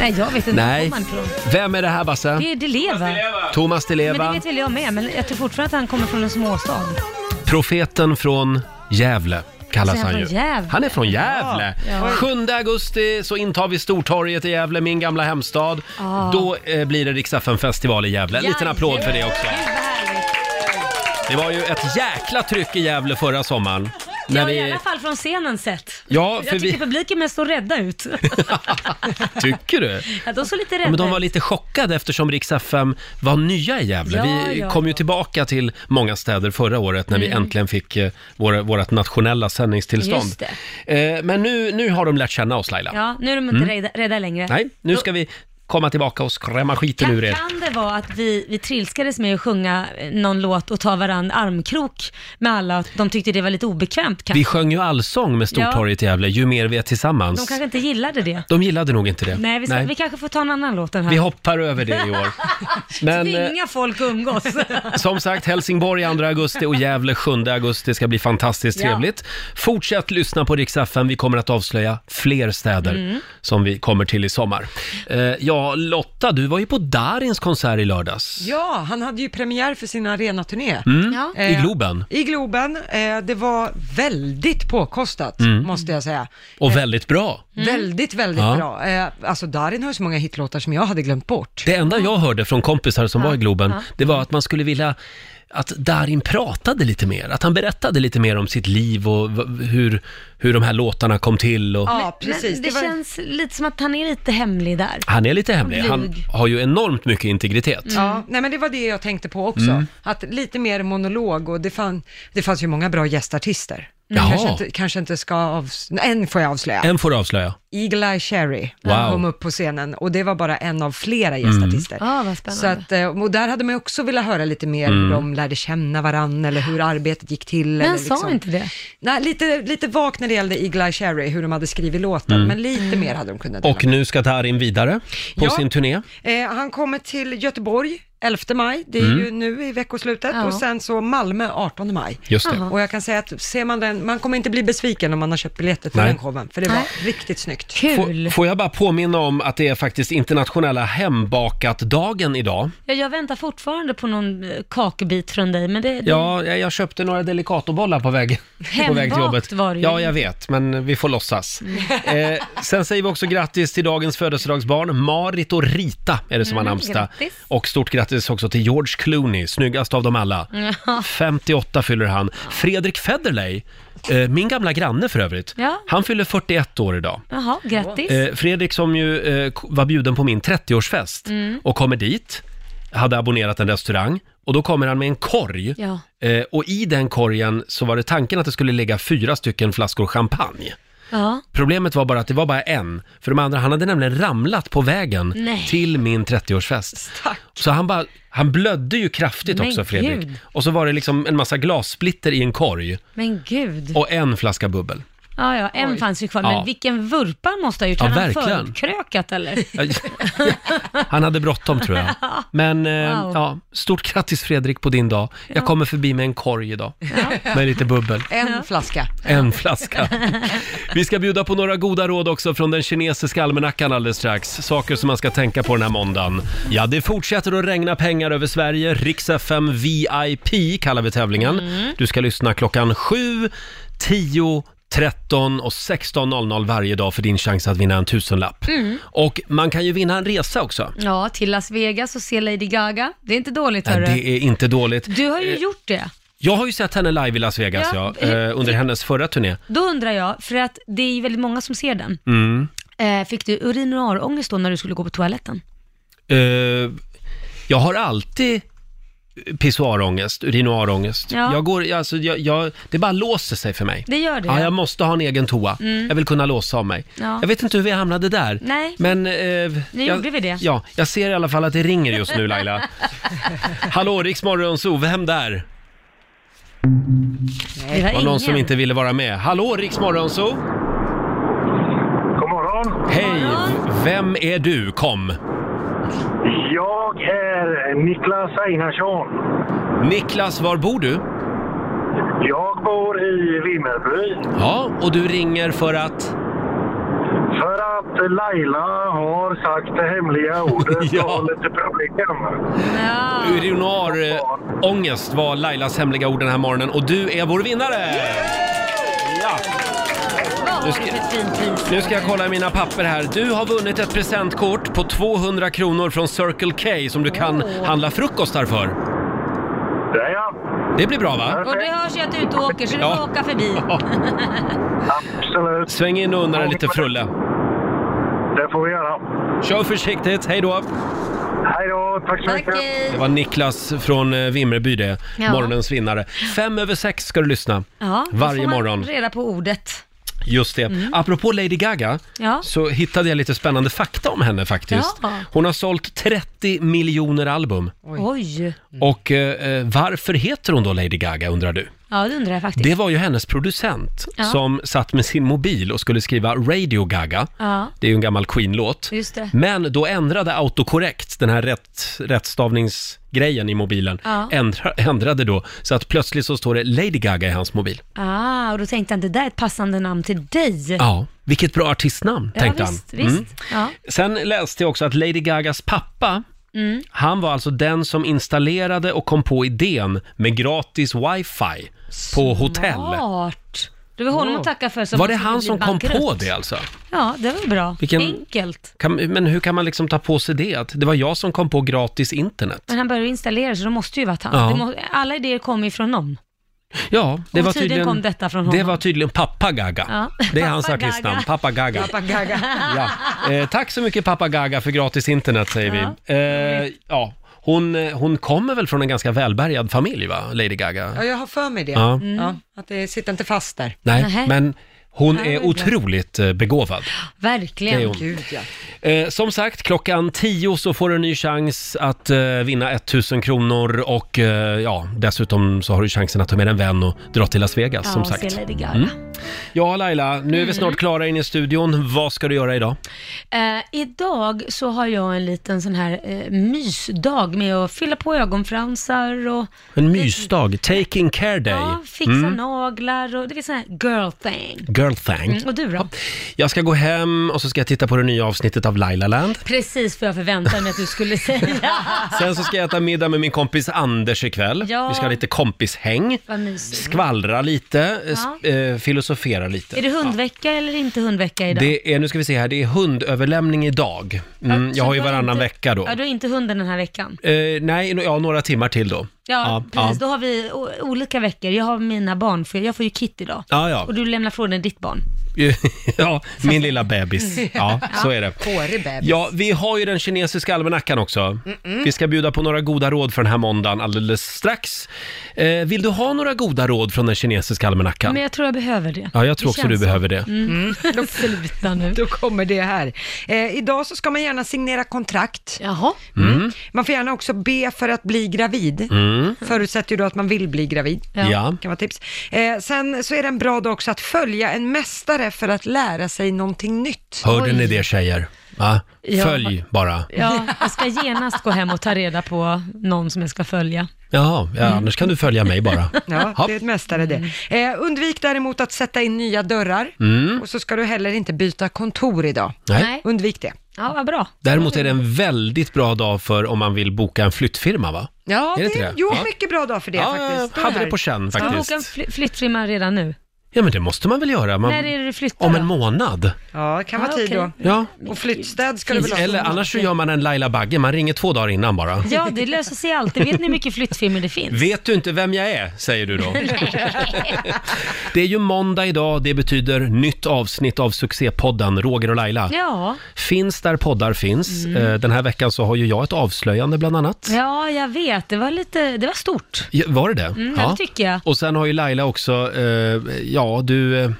C: Nej, jag vet inte. Var
A: Nej.
C: kommer han ifrån?
A: Vem är det här Basse?
C: Det är Di Leva.
A: Thomas Di
C: Men det
A: Leva,
C: vet väl jag med, men jag tror fortfarande att han kommer från en småstad.
A: profeten från Gävle. Kallas
C: Så Alltså, är han
A: han ju.
C: från Gävle?
A: Han är från Gävle.
C: Ja.
A: 7 augusti så intar vi Stortorget i Gävle, min gamla hemstad.
C: Ah.
A: Då eh, blir det riksdagen festival i Gävle. En liten applåd för det också. Det var ju ett jäkla tryck i Gävle förra sommaren. När
C: I
A: vi...
C: alla fall från scenen sett.
A: Ja, för
C: jag tycker
A: vi-
C: publiken mest såg rädda ut.
A: Tycker du?
C: Ja, de såg lite rädda
A: Ja, men de var
C: ut.
A: lite chockade eftersom Rix FM var nya i Gävle.
C: Ja,
A: vi
C: ja,
A: kom ju tillbaka till många städer förra året när vi
C: Mm.
A: äntligen fick eh, våra, vårat nationella sändningstillstånd.
C: Just
A: Eh, men nu, nu har de lärt känna oss Laila.
C: Ja, nu är de inte
A: Mm.
C: rädda, rädda längre.
A: Nej, nu ska vi komma tillbaka och skrämma skiten ur
C: Kan,
A: er.
C: kan det vara att vi, vi trilskades med att sjunga eh, någon låt och ta varann armkrok med alla? De tyckte det var lite obekvämt kanske.
A: Vi sjöng ju allsång med Stortorget i Gävle, Ju mer vi är
C: De
A: tillsammans.
C: kanske inte gillade det.
A: De gillade nog inte det.
C: Nej, vi, ska, vi kanske får ta en annan låt den här.
A: Vi hoppar över det i år. Men, eh,
C: Tvinga folk att umgås.
A: Som sagt, Helsingborg 2 augusti och Gävle 7 augusti ska bli fantastiskt
C: Ja.
A: trevligt. Fortsätt lyssna på Rix FM. Vi kommer att avslöja fler städer
C: Mm.
A: som vi kommer till i sommar. Eh, ja, Lotta, du var ju på Darins konsert i lördags.
B: Ja, han hade ju premiär för sin arenaturné. Eh,
A: Mm, Ja. i Globen.
B: I Globen. Eh, det var väldigt påkostat,
A: Mm.
B: måste jag säga.
C: Eh.
B: Eh,
A: Och väldigt bra.
C: Mm.
B: Väldigt, väldigt
A: Ja.
B: bra. Eh, alltså Darin har ju så många hitlåtar som jag hade glömt bort.
A: Det enda jag hörde från kompisar som var i Globen,
B: Ja.
A: det var att man skulle vilja att Darin pratade lite mer, att han berättade lite mer om sitt liv och v- hur, hur de här låtarna kom till. Och...
C: Men- Men det, känns lite som att han är lite hemlig där.
A: Han är lite hemlig, han
C: Blyg.
A: har ju enormt mycket integritet.
C: Mm.
B: Ja, nej men det var det jag tänkte på också.
A: Mm.
B: Att lite mer monolog och det, fan, det fanns ju många bra gästartister.
A: Mm.
B: Kanske,
A: Jaha.
B: inte, kanske inte ska avslöja, en får jag avslöja.
A: En får du avslöja.
B: Eagle Eye Cherry
A: Wow.
B: kom upp på scenen och det var bara en av flera
A: Mm.
B: gästartister.
C: Ja, Ah, vad spännande.
B: Så att, eh, och där hade man ju också velat höra lite mer
A: Mm.
B: hur de lärde känna varann eller hur arbetet gick till.
C: Men
B: eller liksom-
C: han sa inte det?
B: Nej, lite, lite vagt när det gällde Eagle Eye Cherry, hur de hade skrivit låten,
A: Mm.
B: men lite mer hade de kunnat
A: Och nu ska Darin vidare på
B: Ja.
A: sin turné.
B: Eh, han kommer till Göteborg 11 maj, det är
A: Mm.
B: ju nu i veckoslutet,
C: Ja.
B: och sen så Malmö 18 maj.
A: Just det.
B: Och jag kan säga att ser man den, man kommer inte bli besviken om man har köpt biljetter till
A: Nej.
B: den showen, för det var riktigt snyggt.
A: Får, får jag bara påminna om att det är faktiskt internationella hembakat-dagen idag.
C: Ja, jag väntar fortfarande på någon eh, kakbit från dig, men det... det-
A: Ja, jag jag köpte några delicatobollar på väg, på väg
C: Hembakt
A: till jobbet.
C: var det ju.
A: Ja, jag vet, men vi får låtsas. Eh, sen säger vi också grattis till dagens födelsedagsbarn, Marit och Rita är det som har
C: Mm,
A: namnsdag.
C: grattis.
A: Och stort grattis också till George Clooney, snyggast av dem alla.
C: Ja.
A: 58 fyller han. Fredrik Federley, eh, min gamla granne för övrigt,
C: Ja.
A: han fyller 41 år idag.
C: Jaha, grattis.
A: Eh, Fredrik som ju eh, k- var bjuden på min 30-årsfest
C: Mm.
A: och kommer dit, hade abonnerat en restaurang och då kommer han med en korg
C: Ja.
A: eh, och i den korgen så var det tanken att det skulle ligga fyra stycken flaskor champagne.
C: Ja.
A: Problemet var bara att det var bara en, för de andra, han hade nämligen ramlat på vägen
C: Nej.
A: till min 30-årsfest. Så han bara, han blödde ju kraftigt
C: Men
A: också Fredrik.
C: gud.
A: Och så var det liksom en massa glassplitter i en korg
C: Men gud.
A: och en flaska bubbel.
C: Ja, ja, en fanns ju kvar, men
A: Ja.
C: vilken vurpa han måste ha gjort.
A: Ja,
C: Har han
A: verkligen.
C: förkrökat eller?
A: Han hade bråttom tror jag. Men eh,
C: Wow.
A: ja, stort grattis Fredrik på din dag. Jag kommer förbi med en korg idag. Med lite bubbel.
P: En flaska.
A: En flaska. Vi ska bjuda på några goda råd också från den kinesiska almanackan alldeles strax. Saker som man ska tänka på den här måndagen. Ja, det fortsätter att regna pengar över Sverige. Rix FM VIP kallar vi tävlingen.
C: Mm.
A: Du ska lyssna klockan 7, 10, 13 och 16.00 varje dag för din chans att vinna en tusenlapp.
C: Mm.
A: Och man kan ju vinna en resa också.
C: Ja, till Las Vegas och se Lady Gaga. Det är inte dåligt
A: Nej,
C: hörru.
A: det är inte dåligt.
C: Du har ju
A: Eh,
C: gjort det.
A: Jag har ju sett henne live i Las Vegas
C: Ja,
A: ja,
C: eh,
A: eh, under hennes förra turné.
C: Då undrar jag, för att det är ju väldigt många som ser den.
A: Mm.
C: Eh, fick du urin och arångest då när du skulle gå på toaletten?
A: Eh, jag har alltid pissoarångest, urinoarångest.
C: Ja.
A: Jag går, alltså, jag, jag, det bara låser sig för mig.
C: Det gör det,
A: Ja,
C: ja.
A: jag måste ha en egen toa.
C: Mm.
A: Jag vill kunna låsa av mig.
C: Ja.
A: Jag vet inte hur vi hamnade där.
C: Nej.
A: Men... Eh,
C: Nu
A: jag,
C: gjorde vi det.
A: Ja, jag ser i alla fall att det ringer just nu Laila. Hallå, Rix Morgonzoo, vem där?
F: Det var
A: var någon
F: ingen.
A: som inte ville vara med. Hallå, Rix Morgonzoo!
F: God morgon.
A: Hej! Vem är du? Kom!
F: Jag är Niklas Einarsson.
A: Niklas, var bor du?
F: Jag bor i Vimmerby.
A: Ja, och du ringer för att?
F: För att Laila har sagt det hemliga ordet och har lite problem.
A: Urinoar eh, ångest var Lailas hemliga ord den här morgonen och du är vår vinnare! Ja. Nu ska, nu ska jag kolla i mina papper här. Du har vunnit ett presentkort på 200 kronor från Circle K som du kan handla frukostar för.
F: Det ja.
A: Det blir bra va?
C: Och det hörs ju att du är ute och åker, så du
A: Ja.
C: får åka förbi.
F: Absolut.
A: Sväng in och unna dig lite frulle.
F: Det får vi göra.
A: Kör försiktigt, hej då!
F: Hej då, tack så mycket.
A: Det var Niklas från eh, Vimmerby det,
C: Ja.
A: morgonens vinnare. Fem över sex ska du lyssna.
C: Ja, då
A: Varje
C: får man
A: morgon.
C: reda på ordet.
A: Just det. Apropå Lady Gaga
C: Ja.
A: så hittade jag lite spännande fakta om henne faktiskt.
C: Ja.
A: Hon har sålt 30 miljoner album.
C: Oj.
A: Och eh, eh, varför heter hon då Lady Gaga undrar du?
C: Ja, det undrar jag faktiskt.
A: Det var ju hennes producent
C: Ja.
A: som satt med sin mobil och skulle skriva Radio Gaga.
C: Ja,
A: Det är ju en gammal Queen-låt.
C: just det.
A: Men då ändrade autokorrekt, den här rätt, rättstavningsgrejen i mobilen,
C: Ja.
A: ändra, ändrade då så att plötsligt så står det Lady Gaga i hans mobil.
C: Ah, och då tänkte han, det där är ett passande namn till dig.
A: Ja, vilket bra artistnamn,
C: Ja,
A: tänkte
C: visst,
A: han. Mm.
C: visst. Ja.
A: Sen läste jag också att Lady Gagas pappa,
C: Mm.
A: han var alltså den som installerade och kom på idén med gratis wifi på hotell.
C: Smart. Det var honom
A: Wow.
C: att tacka för. som
A: Var det
C: skulle
A: han
C: Alltså, bli
A: som kom
C: bankrutt.
A: på det alltså?
C: Ja, det var bra.
A: Vilken-
C: Enkelt.
A: Kan, men hur kan man liksom ta på sig det? Att det var jag som kom på gratis internet.
C: Men han började installera så det måste ju varit han.
A: Ja.
C: Det må, alla idéer kom ifrån någon.
A: Ja, det
C: Och
A: var
C: tydligen
A: tydligen...
C: kom detta från honom.
A: Det var tydligen pappa Gaga.
C: Ja.
A: Det är hans
C: Pappa
A: artistnamn,
C: Gaga.
A: pappa Gaga.
P: Gaga.
A: Ja. Eh, tack så mycket pappa Gaga för gratis internet säger vi. Eh, ja. Hon, eh, hon kommer väl från en ganska välbärgad familj va, Lady Gaga?
P: Ja, jag har för mig det.
A: Ja.
P: Ja.
A: Mm.
P: att det sitter inte fast där.
A: Nej, men hon
P: Ja,
A: är
P: det är bra.
A: otroligt eh, begåvad.
C: Verkligen.
A: Det är hon.
P: Gud, ja.
A: Eh, som sagt, klockan 10 så får du en ny chans att eh, vinna 1000 kronor och eh, ja, dessutom så har du chansen att ta med en vän och dra till Las Vegas
C: Ja,
A: som
C: och se
A: sagt. Mm.
C: Lady Gaga.
A: Ja, Laila, nu är vi
C: Mm.
A: snart klara in i studion. Vad ska du göra idag?
C: Eh, idag så har jag en liten sån här eh, mysdag med att fylla på ögonfransar och
A: En mysdag, Mm. taking care day. Mm.
C: ja, fixa naglar och det är sån här girl thing.
A: Girl thing.
C: Mm, och du då?
A: Jag ska gå hem och så ska jag titta på det nya avsnittet av Lailaland.
C: Precis vad jag förväntade mig att du skulle säga.
A: Sen så ska jag äta middag med min kompis Anders ikväll.
C: Ja.
A: Vi ska ha lite kompishäng.
C: Vad mysigt.
A: Skvallra lite, eh,
C: Ja.
A: sp- eh, filosofera lite.
C: Är det hundvecka eller inte hundvecka
A: Ja.
C: idag?
A: Det är, nu ska vi se här, det är hundöverlämning idag. Mm, jag har ju
C: Så du
A: varannan
C: inte-
A: vecka då.
C: Ja, du har inte hunden den här veckan.
A: Eh, nej, no- ja, några timmar till då.
C: Ja, precis.
A: ja.
C: Då har vi o- olika veckor. Jag har mina barn, för jag får ju Kitty idag.
A: Ja, ja.
C: Och du lämnar från dig ditt barn. Mm.
A: ja, min lilla bebis. Ja, så är det.
P: Hårig bebis.
A: Ja, vi har ju den kinesiska almanackan också.
P: Mm-mm.
A: Vi ska bjuda på några goda råd för den här måndagen alldeles strax. Eh, vill du ha några goda råd från den kinesiska almanackan?
C: Men jag tror jag behöver det.
A: Ja, jag tror också
C: känns
A: du
C: så.
A: behöver det.
C: Mm. Sluta nu.
B: Då kommer det här. Eh, idag så ska man gärna signera kontrakt.
C: Jaha.
A: Mm.
B: Man får gärna också be för att bli gravid.
A: Mm.
B: Förutsätter ju då att man vill bli gravid.
A: Ja. Ja.
B: Kan vara tips. Eh, sen så är den bra då också att följa en mästare för att lära sig någonting nytt.
A: Hörde ni det tjejer? Va?
C: Ja.
A: Följ bara.
C: Ja, jag ska genast gå hem och ta reda på någon som jag ska följa.
A: Jaha, ja,
B: Mm.
A: annars kan du följa mig bara.
B: Ja, det är ett mästare
C: Mm.
B: det. Eh, undvik däremot att sätta in nya dörrar.
A: Mm.
B: Och så ska du heller inte byta kontor idag.
A: Nej. Nej.
B: Undvik det.
C: Ja, vad bra.
A: Däremot är det en väldigt bra dag för om man vill boka en flyttfirma va?
B: Ja,
A: Är det
B: det,
A: inte det?
B: Jo,
A: Ja.
B: mycket bra dag för det
A: Ja,
B: faktiskt.
A: jag hade
B: här.
A: det på känn
C: Ska man
A: faktiskt.
C: boka en fly- flyttfirma redan nu?
A: Ja, men det måste man väl göra? Man...
C: När är det du flyttar
A: Om
C: då?
A: en månad.
B: Ja, det kan vara
C: Ja,
B: tid
C: okej.
A: Ja.
B: Och flyttstäd ska du väl ha?
A: Eller annars så gör man en Laila Bagge, man ringer två dagar innan bara.
C: Ja, det löser sig alltid. Vet ni hur mycket flyttfirmor det finns?
A: Vet du inte vem jag är, säger du då. Det är ju måndag idag, det betyder nytt avsnitt av succépodden Roger och Laila.
C: Ja.
A: Finns där poddar finns.
C: Mm.
A: Eh, Den här veckan så har ju jag ett avslöjande bland annat.
C: ja, jag vet. Det var lite, det var stort.
A: Ja, Var det det?
C: Mm, ja, det tycker jag.
A: Och sen har ju Laila också, eh, ja du, eh,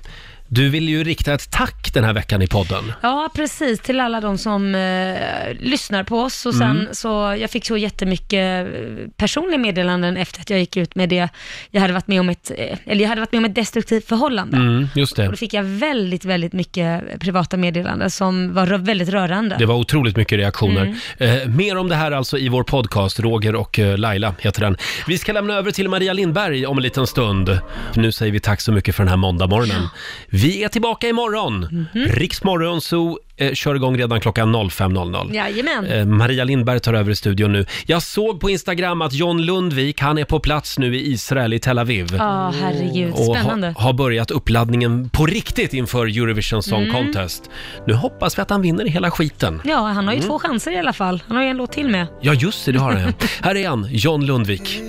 A: du vill ju rikta ett tack den här veckan i podden.
C: Ja, precis. Till alla de som eh, lyssnar på oss. Och sen,
A: Mm.
C: så, jag fick så jättemycket eh, personliga meddelanden efter att jag gick ut med det. Jag hade varit med om ett, eh, eller jag hade varit med om ett destruktivt förhållande.
A: Mm, just
C: Och
A: det.
C: då fick jag väldigt, väldigt mycket eh, privata meddelanden som var rö- väldigt rörande.
A: Det var otroligt mycket reaktioner.
C: Mm.
A: Eh, mer om det här alltså i vår podcast, Roger och eh, Laila heter den. Vi ska lämna över till Maria Lindberg om en liten stund. Nu säger vi tack så mycket för den här måndagmorgonen. Vi är tillbaka imorgon.
C: Mhm.
A: Mm. Riksmorgon Zoo eh, kör igång redan klockan 05.00.
C: Jajamän.
A: Eh, Maria Lindberg tar över i studion nu. Jag såg på Instagram att John Lundvik, han är på plats nu i Israel, i Tel Aviv.
C: Ja, herregud.
A: Och
C: Spännande.
A: har, har börjat uppladdningen på riktigt inför Eurovision Song
C: Mm.
A: Contest. Nu hoppas vi att han vinner hela skiten.
C: Ja, han har ju
A: Mm.
C: två chanser i alla fall. Han har ju en låt till med.
A: Ja, just det, det har han. ja. Här är han, John Lundvik.